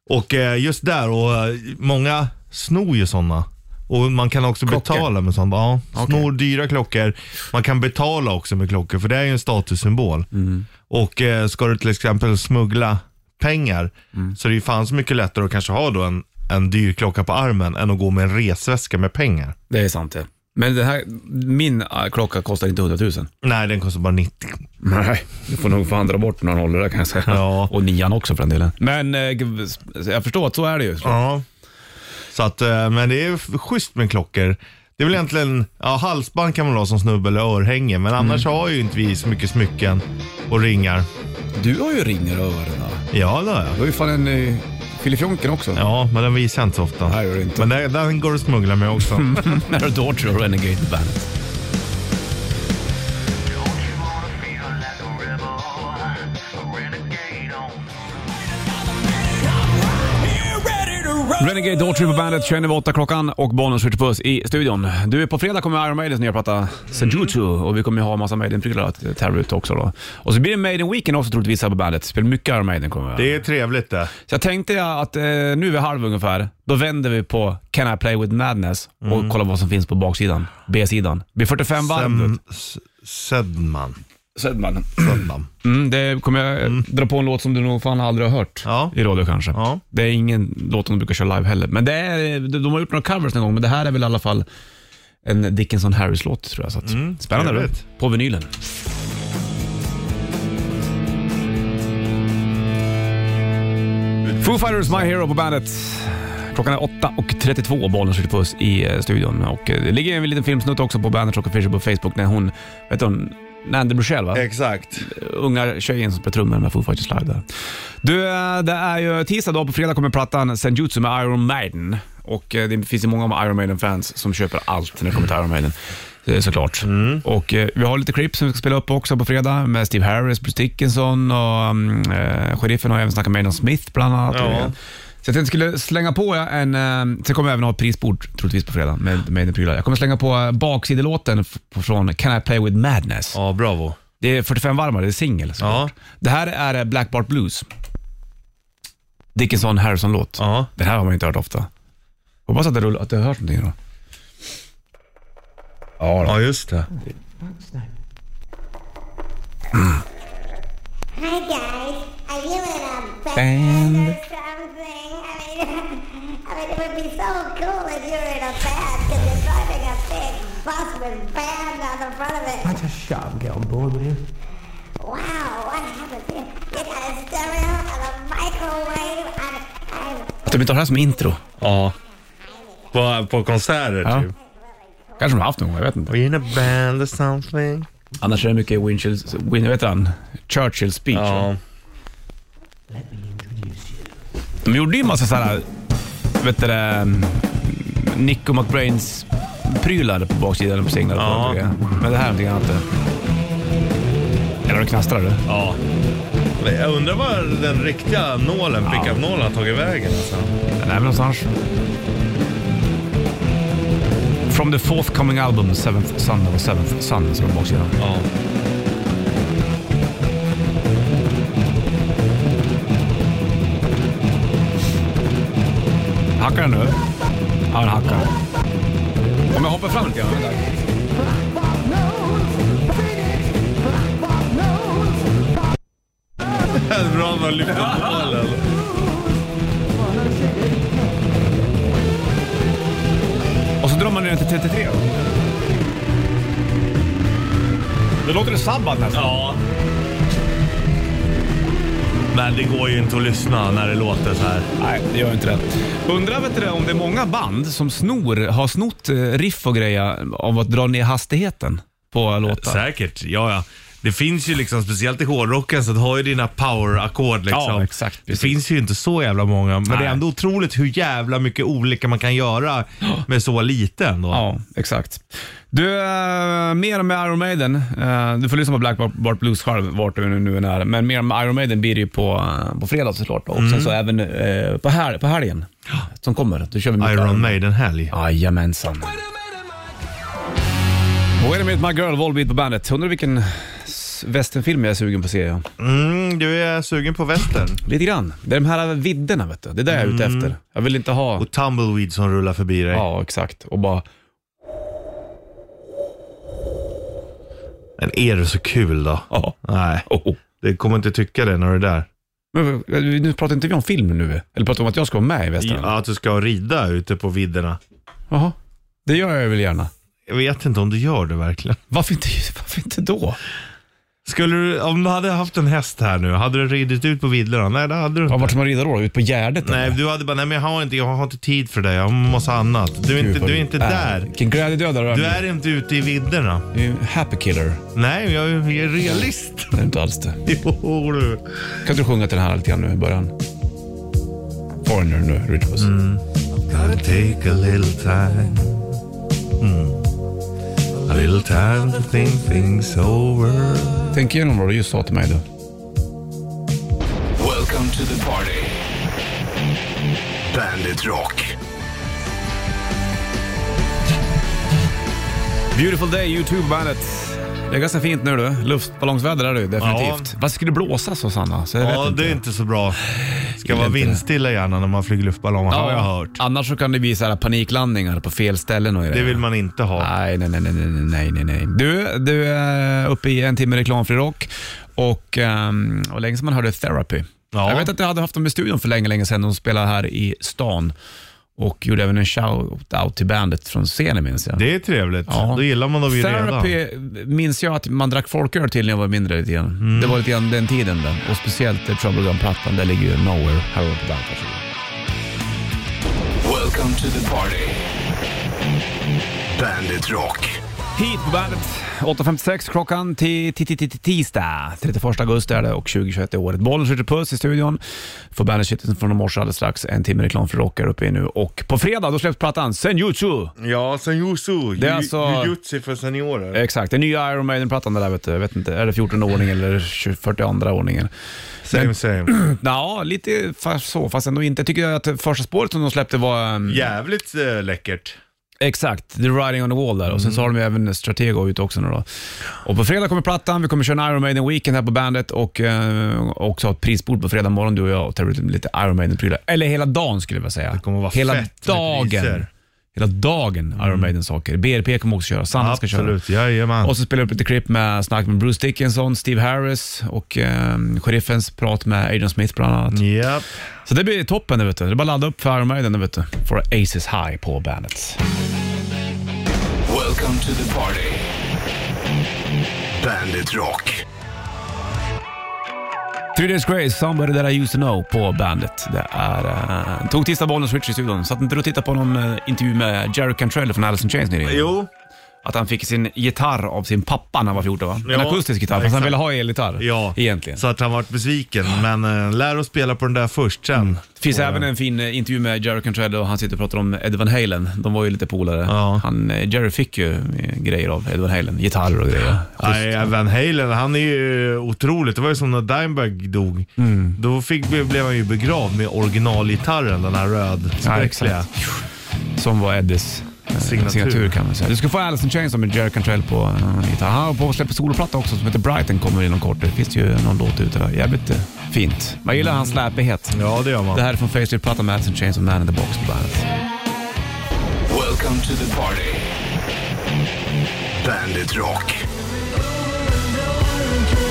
[SPEAKER 3] Och eh, just där, och eh, många snor ju sådana. Och man kan också
[SPEAKER 2] Klockor?
[SPEAKER 3] betala med sådana. Ja,
[SPEAKER 2] Okej.
[SPEAKER 3] snor dyra klockor. Man kan betala också med klockor, för det är ju en statussymbol.
[SPEAKER 2] Mm.
[SPEAKER 3] Och eh, ska du till exempel smuggla pengar,
[SPEAKER 2] Mm.
[SPEAKER 3] så det är ju fan så mycket lättare att kanske ha då en, en dyr klocka på armen än att gå med en resväska med pengar.
[SPEAKER 2] Det är sant det. Men det här, min eh, klocka kostar inte 100 000.
[SPEAKER 3] Nej, den kostar bara 90.
[SPEAKER 2] Nej, du får nog fan dra bort några nollor där kan jag säga.
[SPEAKER 3] Ja.
[SPEAKER 2] Och nian också för den delen. Men eh, g- jag förstår att så är det ju.
[SPEAKER 3] Ja. Så att, eh, men det är f- schysst med klockor. Det är väl egentligen, ja halsband kan man ha som snubbe eller örhänge, men annars
[SPEAKER 2] Mm.
[SPEAKER 3] har ju inte vi så mycket smycken och ringar.
[SPEAKER 2] Du har ju ringar över öronen.
[SPEAKER 3] Ja, det har jag.
[SPEAKER 2] Du har ju fan en eh, filifjonken också.
[SPEAKER 3] Ja, men den visar jag inte så ofta.
[SPEAKER 2] Nej, gör det inte. Mm.
[SPEAKER 3] Men den, den går att smuggla med också.
[SPEAKER 2] När du då tror Renegade Bandet. Renegade Daughtry på bandet, 20 över åtta klockan och Bonus skjuter puss i studion. Du, på fredag kommer Iron Maidens nya platta Senjutsu och vi kommer ju ha massa Maiden-prylar att eh, tävla ut också då. Och så blir det Maiden-weekend också troligtvis här på bandet. Spelar mycket Iron Maiden kommer vi
[SPEAKER 3] Det är
[SPEAKER 2] <laughs>
[SPEAKER 3] trevligt det.
[SPEAKER 2] så jag tänkte jag att eh, nu vid halv ungefär, då vänder vi på Can I play with madness och kollar vad som finns på baksidan, B-sidan. Det blir 45 varv.
[SPEAKER 3] Sem,
[SPEAKER 2] vet
[SPEAKER 3] S- Sedman.
[SPEAKER 2] du. Sedman.
[SPEAKER 3] Sedman.
[SPEAKER 2] Mm, det kommer jag eh, dra på en låt som du nog fan aldrig har hört
[SPEAKER 3] Ja.
[SPEAKER 2] i radio kanske.
[SPEAKER 3] Ja.
[SPEAKER 2] Det är ingen låt som de brukar köra live heller. Men det är, de har gjort några covers någon gång, men det här är väl i alla fall en Dickinson Harris-låt tror jag. Så att, spännande.
[SPEAKER 3] trevligt.
[SPEAKER 2] På vinylen. Foo Fighters, My Hero på bandet. Klockan är 8.32, bollen skjuter puss i eh, studion. Och eh, det ligger en liten filmsnutt också på Bandage och Fisher på Facebook när hon, vet du, Nandy Bruchell va?
[SPEAKER 3] Exakt.
[SPEAKER 2] unga tjejen som spelar trummor med Foo Fighters live där. Du, eh, det är ju tisdag då, på fredag kommer plattan Senjutsu med Iron Maiden. Och eh, det finns ju många av Iron Maiden-fans som köper allt när det kommer till Iron Maiden. eh, Såklart. Och eh, vi har lite klipp som vi ska spela upp också på fredag med Steve Harris, Bruce Dickinson och mm, eh, sheriffen har även snackat med Maiden Smith bland annat.
[SPEAKER 3] Ja.
[SPEAKER 2] Så jag tänkte skulle slänga på en, eh, sen kommer jag även ha ett prisbord troligtvis på fredag med Maiden-prylar. Jag kommer slänga på eh, baksidelåten f- från Can I Play With Madness.
[SPEAKER 3] Ja, bravo.
[SPEAKER 2] Det är 45 varmare, det är singel. såklart. Det här är eh, Black Bart Blues. Dickinson Harrison-låt.
[SPEAKER 3] Ja.
[SPEAKER 2] Den här har man inte hört ofta. Hoppas att det, rull, att det hörs någonting då. Ja, då.
[SPEAKER 3] Ja, just det.
[SPEAKER 8] Hi guys, I'm feeling a bad
[SPEAKER 2] Band.
[SPEAKER 8] or something. I mean, I mean, <laughs> it would be so cool if you were in a band because you're driving a big bus with band on the front of it.
[SPEAKER 4] That's a shot, girl, boy, man.
[SPEAKER 8] Wow, what happened here? You got a stereo and a microwave and I'm
[SPEAKER 2] Att de inte har det här som intro.
[SPEAKER 3] Ja. På, på konserter
[SPEAKER 2] Ja.
[SPEAKER 3] typ.
[SPEAKER 2] Kanske de har haft någon gång, jag vet inte.
[SPEAKER 3] We're in a band or something.
[SPEAKER 2] Annars är det mycket Winchills, Win, vet han? Churchill speech.
[SPEAKER 3] Ja.
[SPEAKER 2] De gjorde ju massa sådana, vet du det, mm, Nico McBrains prylar på baksidan på singlar.
[SPEAKER 3] Ja.
[SPEAKER 2] Men det här är någonting annat. det. Eller det knastrar du?
[SPEAKER 3] ja. Men Jag undrar var den riktiga nålen, pickup-nålen, har tagit vägen alltså.
[SPEAKER 2] Den är väl någonstans. From the forthcoming album Seventh Sun, eller Seventh Sun som är på baksidan.
[SPEAKER 3] Ja.
[SPEAKER 2] Hackar den nu? Ja, den hackar. Om jag hoppar fram lite grann. vänta.
[SPEAKER 3] Det är bra man lyfter upp nålen.
[SPEAKER 2] Och så drar man ner den till 33. Då låter det sabbat nästan.
[SPEAKER 3] Ja. Men det går ju inte att lyssna när det låter så här.
[SPEAKER 2] Nej, det gör inte det. Undrar vet du, det, om det är många band som snor, har snott eh, riff och grejer av att dra ner hastigheten på låtar.
[SPEAKER 3] Säkert, ja ja. det finns ju liksom, speciellt i hårdrocken, så att har ju dina power-ackord liksom.
[SPEAKER 2] Ja, exakt,
[SPEAKER 3] Det
[SPEAKER 2] precis.
[SPEAKER 3] finns ju inte så jävla många, men det är
[SPEAKER 2] Nej.
[SPEAKER 3] ändå otroligt hur jävla mycket olika man
[SPEAKER 2] <gasps>
[SPEAKER 3] kan göra med så lite ändå.
[SPEAKER 2] Ja, exakt. Du, eh, mer om Iron Maiden. Eh, du får lyssna på Black Bart Blues själv, vart du nu- nu än är. Men mer om Iron Maiden blir det ju på, eh, på fredag såklart. Och
[SPEAKER 3] Mm.
[SPEAKER 2] sen så även eh, på, hel- på helgen som kommer. Då kör vi mycket
[SPEAKER 3] Iron Maiden-helg.
[SPEAKER 2] Jajamensan. Wait a minute my girl, Volbeat på bandet. Undrar vilken s- westernfilm jag är sugen på att se. Ja.
[SPEAKER 3] Mm, du är sugen på västern.
[SPEAKER 2] Lite grann. Det är de här eh, vidderna, vet du. Det är det jag är ute
[SPEAKER 3] Mm.
[SPEAKER 2] efter. Jag vill inte ha...
[SPEAKER 3] Och Tumbleweed som rullar förbi dig.
[SPEAKER 2] Ja, exakt. Och bara...
[SPEAKER 3] Men är det så kul då?
[SPEAKER 2] Ja.
[SPEAKER 3] Nej,
[SPEAKER 2] Oh.
[SPEAKER 3] det kommer inte tycka det när du är där.
[SPEAKER 2] Men, eh, nu pratar inte vi om film nu? Eller pratar vi om att jag ska vara med i
[SPEAKER 3] Ja,
[SPEAKER 2] Västra?
[SPEAKER 3] att du ska rida ute på vidderna.
[SPEAKER 2] Jaha. Det gör jag väl gärna.
[SPEAKER 3] Jag vet inte om du gör det verkligen.
[SPEAKER 2] Varför inte, <laughs> varför inte då?
[SPEAKER 3] Skulle du, om du hade haft en häst här nu, hade du ridit ut på vidderna? Nej, det hade du
[SPEAKER 2] Ja,
[SPEAKER 3] inte.
[SPEAKER 2] vart ska man rida då? Ut på Gärdet?
[SPEAKER 3] Nej, du hade bara, nej men jag har inte, jag har inte tid för det. Jag måste ha annat. Du är inte, du är inte där.
[SPEAKER 2] Äh, Vilken glädjedödare
[SPEAKER 3] Du är inte ute i vidderna.
[SPEAKER 2] Du är ju en happy killer.
[SPEAKER 3] Nej, jag är jag är realist. <laughs>
[SPEAKER 2] Det är inte alls det.
[SPEAKER 3] Jo, du.
[SPEAKER 2] Kan inte du sjunga till den här lite grann nu i början? Foreigner nu, Ritchie
[SPEAKER 3] Mm. Gotta take a little time. Mm. A little time to think things over.
[SPEAKER 2] Tänk igenom vad du just sa till mig då.
[SPEAKER 1] Welcome to the party. Bandit Rock.
[SPEAKER 2] Beautiful day, YouTube bandet. Det är ganska fint nu du. Luftballongsväder är det ju, definitivt.
[SPEAKER 3] Ja.
[SPEAKER 2] Vad skulle det blåsa så Sanna? Så jag vet
[SPEAKER 3] Ja,
[SPEAKER 2] inte.
[SPEAKER 3] det är inte så bra. Ska
[SPEAKER 2] Gillar
[SPEAKER 3] vara
[SPEAKER 2] inte det.
[SPEAKER 3] vindstilla gärna när man flyger luftballonger, har jag hört.
[SPEAKER 2] Annars så kan det bli så här paniklandningar på fel ställen och
[SPEAKER 3] Det vill man inte ha.
[SPEAKER 2] Nej, nej, nej, nej, nej, nej, nej, nej. Du, du är uppe i en timme reklamfri rock och, ehm, och länge sedan man hörde Therapy.
[SPEAKER 3] Ja.
[SPEAKER 2] Jag vet att jag hade haft dem i studion för länge, länge sedan. De spelade här i stan och gjorde även en shout-out till bandet från scenen minns jag.
[SPEAKER 3] Det är trevligt.
[SPEAKER 2] Ja.
[SPEAKER 3] Då gillar man dem ju redan.
[SPEAKER 2] Therapy minns jag att man drack folköl till när jag var mindre lite grann.
[SPEAKER 3] Mm.
[SPEAKER 2] Det var lite grann den tiden den. Och speciellt eh, Trouble Gun-plattan, där ligger ju Nowhere, här uppe på bandet.
[SPEAKER 1] Welcome to the party. Bandit Rock.
[SPEAKER 2] Hit på bandet. 8.56 klockan till till- till- till- till tisdag. 31 augusti är det och 2021 är året. Bollen skjuter puss i studion. Får bandet shitlisten från i morse alldeles strax. En timme reklam för rockar uppe i nu. Och på fredag då släpps plattan Senjutsu.
[SPEAKER 3] Ja, senjutsu.
[SPEAKER 2] Det är alltså-
[SPEAKER 3] Jujutsu för seniorer.
[SPEAKER 2] Exakt, den nya Iron Maiden-plattan det där vet du. Jag vet inte, är det 14 ordning eller 20 42 ordningen?
[SPEAKER 3] Same <clears throat> same.
[SPEAKER 2] Ja, lite fa- så, fast ändå inte. Jag tycker att första spåret som de släppte var... ehm,
[SPEAKER 3] Jävligt eh, läckert.
[SPEAKER 2] Exakt, The Riding on the Wall där. Och sen så har de ju även Stratego ute också nu då. Och på fredag kommer plattan, vi kommer köra en Iron Maiden Weekend här på bandet och eh, också ha ett prisbord på fredag morgon du och jag och ta ut lite Iron Maiden-prylar. Eller hela dagen skulle jag vilja säga. Det
[SPEAKER 3] kommer vara
[SPEAKER 2] hela
[SPEAKER 3] fett med
[SPEAKER 2] dagen.
[SPEAKER 3] priser. Mm.
[SPEAKER 2] Hela dagen Iron Maiden-saker. BRP kommer också köra, Sanna ska köra.
[SPEAKER 3] Absolut, jajamän.
[SPEAKER 2] Och så spelar jag upp lite klipp med snack med Bruce Dickinson, Steve Harris och eh, sheriffens prat med Adrian Smith bland annat.
[SPEAKER 3] Japp.
[SPEAKER 2] Så det blir toppen, det vet du. Det är bara att ladda upp för Iron Maiden, det vet du. För Aces High på bandet.
[SPEAKER 1] Welcome to the party. Bandit Rock.
[SPEAKER 2] Three Days Grace, Somebody That I Used To Know på bandet. Det är... Uh, tog tisdag bollen och switch i studion. Satt inte du och tittade på någon eh, intervju med Jerry Cantrell från Alice in Chains nyligen?
[SPEAKER 3] Jo, att
[SPEAKER 2] Att han fick sin gitarr av sin pappa när han var 14 va?
[SPEAKER 3] Ja,
[SPEAKER 2] en akustisk gitarr, fast han
[SPEAKER 3] exakt.
[SPEAKER 2] ville ha elgitarr
[SPEAKER 3] ja.
[SPEAKER 2] egentligen.
[SPEAKER 3] Så att han vart besviken. Men eh, lär oss spela på den där först sen.
[SPEAKER 2] Det Mm. finns även en fin eh, intervju med Jerry Cantrell och han sitter och pratar om Ed Van Halen. De var ju lite polare.
[SPEAKER 3] Ja.
[SPEAKER 2] Han, eh, Jerry fick ju eh, grejer av Ed Van Halen, gitarrer och grejer.
[SPEAKER 3] Nej, Van Halen, han är ju otroligt. Det var ju som när Dimebag dog.
[SPEAKER 2] Mm.
[SPEAKER 3] Då fick, blev han ju begravd med originalgitarren, den här röd, spräckliga.
[SPEAKER 2] Som var Eddies eh,
[SPEAKER 3] Signatur.
[SPEAKER 2] signatur kan man säga. Du ska få Alice in Chains med Jerry Cantrell på eh, gitarr. Han har på och släpper soloplatta också som heter Brighton kommer inom kort. Det finns ju någon låt ute. där. Jävligt eh, fint. Man gillar hans släpighet.
[SPEAKER 3] Ja, det gör man.
[SPEAKER 2] Det här är från Facelift-plattan med Alice in Chains och Man in the Box på bandet.
[SPEAKER 1] Welcome to the party. Bandit Rock.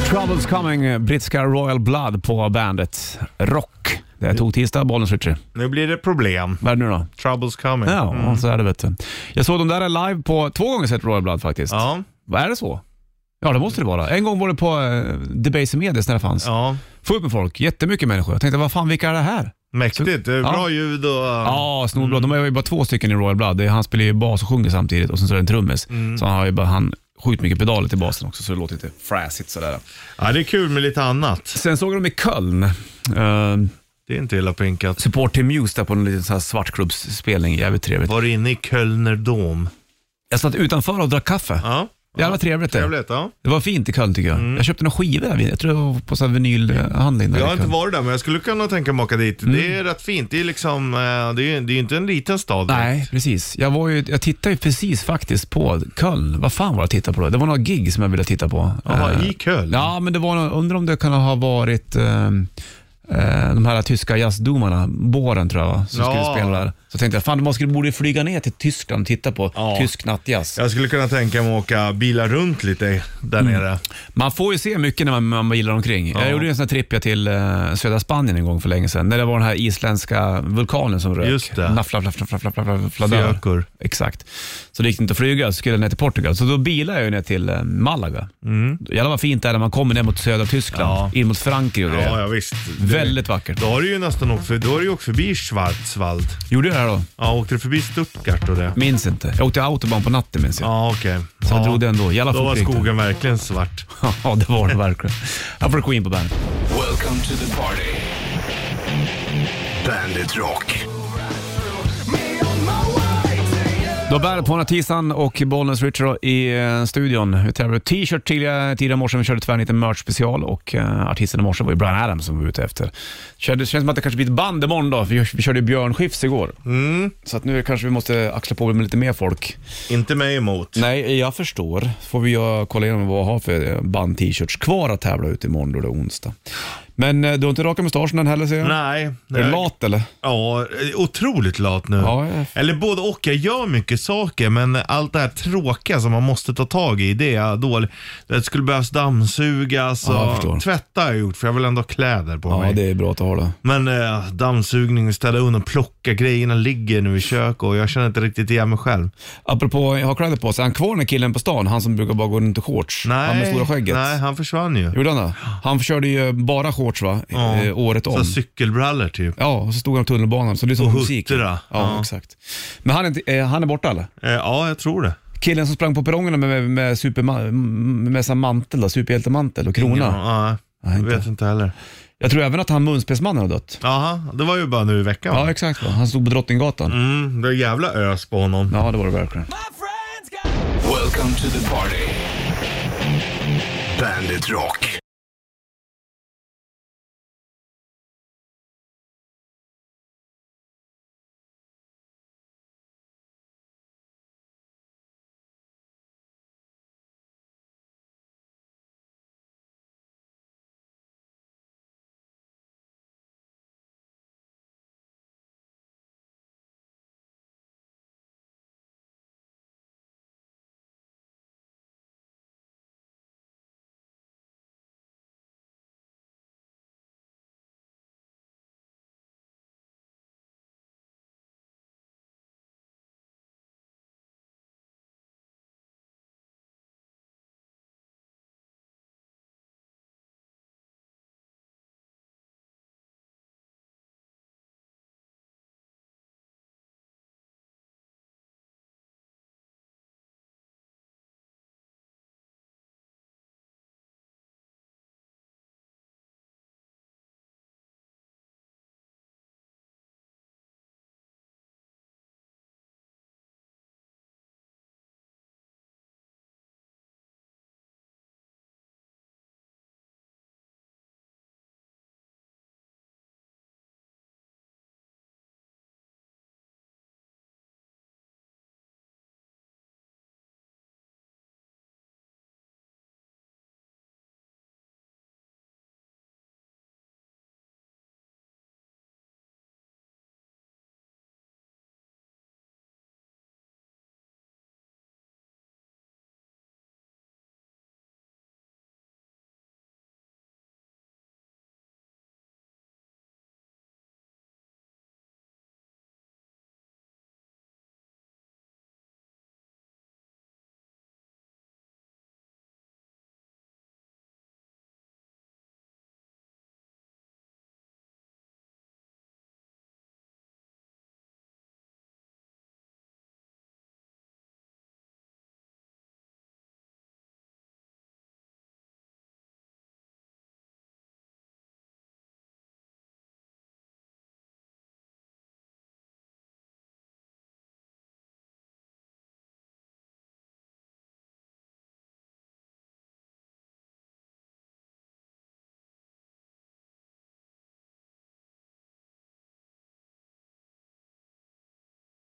[SPEAKER 2] Troubles Coming, eh, brittiska Royal Blood på bandet. Rock. Det här tog tisdag, bollen switcher.
[SPEAKER 3] Nu blir det problem.
[SPEAKER 2] Vad är det nu då?
[SPEAKER 3] Troubles coming.
[SPEAKER 2] Ja, så är det vet du. Jag såg dem där live på två gånger sett Royal Blood faktiskt.
[SPEAKER 3] Ja,
[SPEAKER 2] Vad är det så? Ja, det måste det vara. En gång var det på eh, Debaser Medias när det fanns.
[SPEAKER 3] ja.
[SPEAKER 2] Få upp med folk, jättemycket människor. Jag tänkte, vad fan vilka är det här?
[SPEAKER 3] Mm. Mäktigt. Det är Bra ljud och...
[SPEAKER 2] Ja,
[SPEAKER 3] Mm.
[SPEAKER 2] Snorblad. De är ju bara två stycken i Royal Blood. Det är- Han spelar ju bas och sjunger samtidigt och sen så är det en trummis. Så han har ju bara, han sjukt mycket pedaler till basen också så det låter lite fräsigt sådär.
[SPEAKER 3] Ja, det är kul med lite annat.
[SPEAKER 2] Sen såg jag dem i Köln. Eh,
[SPEAKER 3] Det är inte illa pinkat.
[SPEAKER 2] support till Muse där på en liten sån här svartklubbsspelning. Jävligt trevligt.
[SPEAKER 3] Var du inne i Kölner Dom?
[SPEAKER 2] Jag satt utanför och drack kaffe.
[SPEAKER 3] Ja.
[SPEAKER 2] Jävla trevligt det.
[SPEAKER 3] Trevligt, ja.
[SPEAKER 2] Det var fint i Köln tycker jag. Jag köpte några skivor där. Jag tror jag var på sån här vinylhandling. där
[SPEAKER 3] Jag har
[SPEAKER 2] i
[SPEAKER 3] inte
[SPEAKER 2] Köln.
[SPEAKER 3] varit där, men jag skulle kunna tänka mig att åka dit. Det
[SPEAKER 2] Mm.
[SPEAKER 3] är rätt fint. Det är liksom, eh, det är ju det är ju inte en liten stad.
[SPEAKER 2] Nej, precis. Jag, var ju, jag tittade ju precis faktiskt på Köln. Vad fan var det jag tittade på då? Det var några gig som jag ville titta på.
[SPEAKER 3] Jaha,
[SPEAKER 2] Eh,
[SPEAKER 3] i Köln?
[SPEAKER 2] Ja, men det var någon, undrar om det kan ha varit eh, eh, de här tyska jazzdomarna, Båren tror jag, va, som
[SPEAKER 3] Ja.
[SPEAKER 2] skulle spela där. Så tänkte jag, fan man skulle, borde ju flyga ner till Tyskland och titta på
[SPEAKER 3] Ja.
[SPEAKER 2] tysk nattjazz.
[SPEAKER 3] Jag skulle kunna tänka mig att åka bilar runt lite där
[SPEAKER 2] Mm.
[SPEAKER 3] nere.
[SPEAKER 2] Man får ju se mycket när man, man gillar omkring. Jag gjorde ju en sån här tripp jag till eh, södra Spanien en gång för länge sedan, när det var den här isländska vulkanen som rök.
[SPEAKER 3] Just det.
[SPEAKER 2] Naffla, flaffla, flaffla, flaffla, fladdar.
[SPEAKER 3] Fjökur.
[SPEAKER 2] Exakt. Så det gick inte att flyga, så skulle jag ner till Portugal. Så då bilade jag ju ner till eh, Malaga. Mm. Jävlar vad fint det är när man kommer ner mot södra Tyskland, in mot Frankrike och
[SPEAKER 3] Ja,
[SPEAKER 2] grejer.
[SPEAKER 3] ja visst. Det-
[SPEAKER 2] Väldigt vackert.
[SPEAKER 3] Då har du ju nästan åkt, för, då har du ju åkt förbi Schwarzwald.
[SPEAKER 2] Gjorde jag det här då?
[SPEAKER 3] Ja, åkte du förbi Stuttgart och det?
[SPEAKER 2] Minns inte. Jag åkte autobahn på natten minns jag.
[SPEAKER 3] Ja, okej.
[SPEAKER 2] Så jag
[SPEAKER 3] ja.
[SPEAKER 2] drog den då. Jävla
[SPEAKER 3] Då var
[SPEAKER 2] fort gick det.
[SPEAKER 3] skogen verkligen svart.
[SPEAKER 2] <laughs> Ja, det var det verkligen. Här får du Queen på bandet.
[SPEAKER 1] Welcome to the party. Bandit Rock.
[SPEAKER 2] Då bär det på den här tisdagen och Bollnäs Richard i eh, studion. Vi tävlade ut t-shirt tidigare, tidigare i morse. Vi körde tvärniten merch special och eh, artisten i morse var ju Brian Adams som vi var ute efter. Känns, känns som att det kanske blir ett band imorgon då. Vi, vi körde ju Björn Skifs igår. Så att nu kanske vi måste axla på med lite mer folk.
[SPEAKER 3] Inte mig emot.
[SPEAKER 2] Nej, jag förstår. Får vi ju kolla igenom vad vi har för band-t-shirts kvar att tävla ut imorgon då det är onsdag. Men eh, du har inte rakat mustaschen än heller ser jag.
[SPEAKER 3] Nej.
[SPEAKER 2] Är du
[SPEAKER 3] jag-
[SPEAKER 2] lat eller?
[SPEAKER 3] Ja, otroligt lat nu.
[SPEAKER 2] Ja, jag-
[SPEAKER 3] Eller både och. Jag gör mycket saker, men allt det här tråkiga som man måste ta tag i, det är jag dålig. Det skulle behövas dammsugas
[SPEAKER 2] Ja, jag
[SPEAKER 3] och
[SPEAKER 2] förstår.
[SPEAKER 3] tvätta har jag gjort, för jag vill ändå ha kläder på
[SPEAKER 2] Ja,
[SPEAKER 3] mig.
[SPEAKER 2] det är bra att ha det.
[SPEAKER 3] Men eh, dammsugning, och städa undan, plocka, grejerna ligger nu i kök och jag känner inte riktigt igen mig själv.
[SPEAKER 2] Apropå jag har kläder på sig, är han kvar den här killen på stan? Han som brukar bara gå runt i shorts?
[SPEAKER 3] Nej,
[SPEAKER 2] han med stora skägget?
[SPEAKER 3] nej han försvann ju.
[SPEAKER 2] Gjorde han det? Han körde ju bara shorts va?
[SPEAKER 3] Ja.
[SPEAKER 2] Eh, året om.
[SPEAKER 3] Så cykelbrallor typ.
[SPEAKER 2] Ja, och så stod han på tunnelbanan så det är som
[SPEAKER 3] Och
[SPEAKER 2] musik.
[SPEAKER 3] huttra.
[SPEAKER 2] Ja,
[SPEAKER 3] Ja.
[SPEAKER 2] exakt. Men han är, inte- eh, han är borta eller?
[SPEAKER 3] Eh, ja, jag tror det.
[SPEAKER 2] Killen som sprang på perrongerna med, med, med, superma- med sån mantel, då, superhjältemantel och krona.
[SPEAKER 3] Ja,
[SPEAKER 2] Nej,
[SPEAKER 3] jag
[SPEAKER 2] inte.
[SPEAKER 3] vet inte heller.
[SPEAKER 2] Jag tror även att han munspelsmannen har dött.
[SPEAKER 3] Jaha, det var ju bara nu i veckan.
[SPEAKER 2] Ja,
[SPEAKER 3] va?
[SPEAKER 2] exakt. Va? Han stod på Drottninggatan.
[SPEAKER 3] Mm, det är jävla ös på honom.
[SPEAKER 2] Ja, det var det verkligen.
[SPEAKER 1] Welcome to the party. Bandit Rock.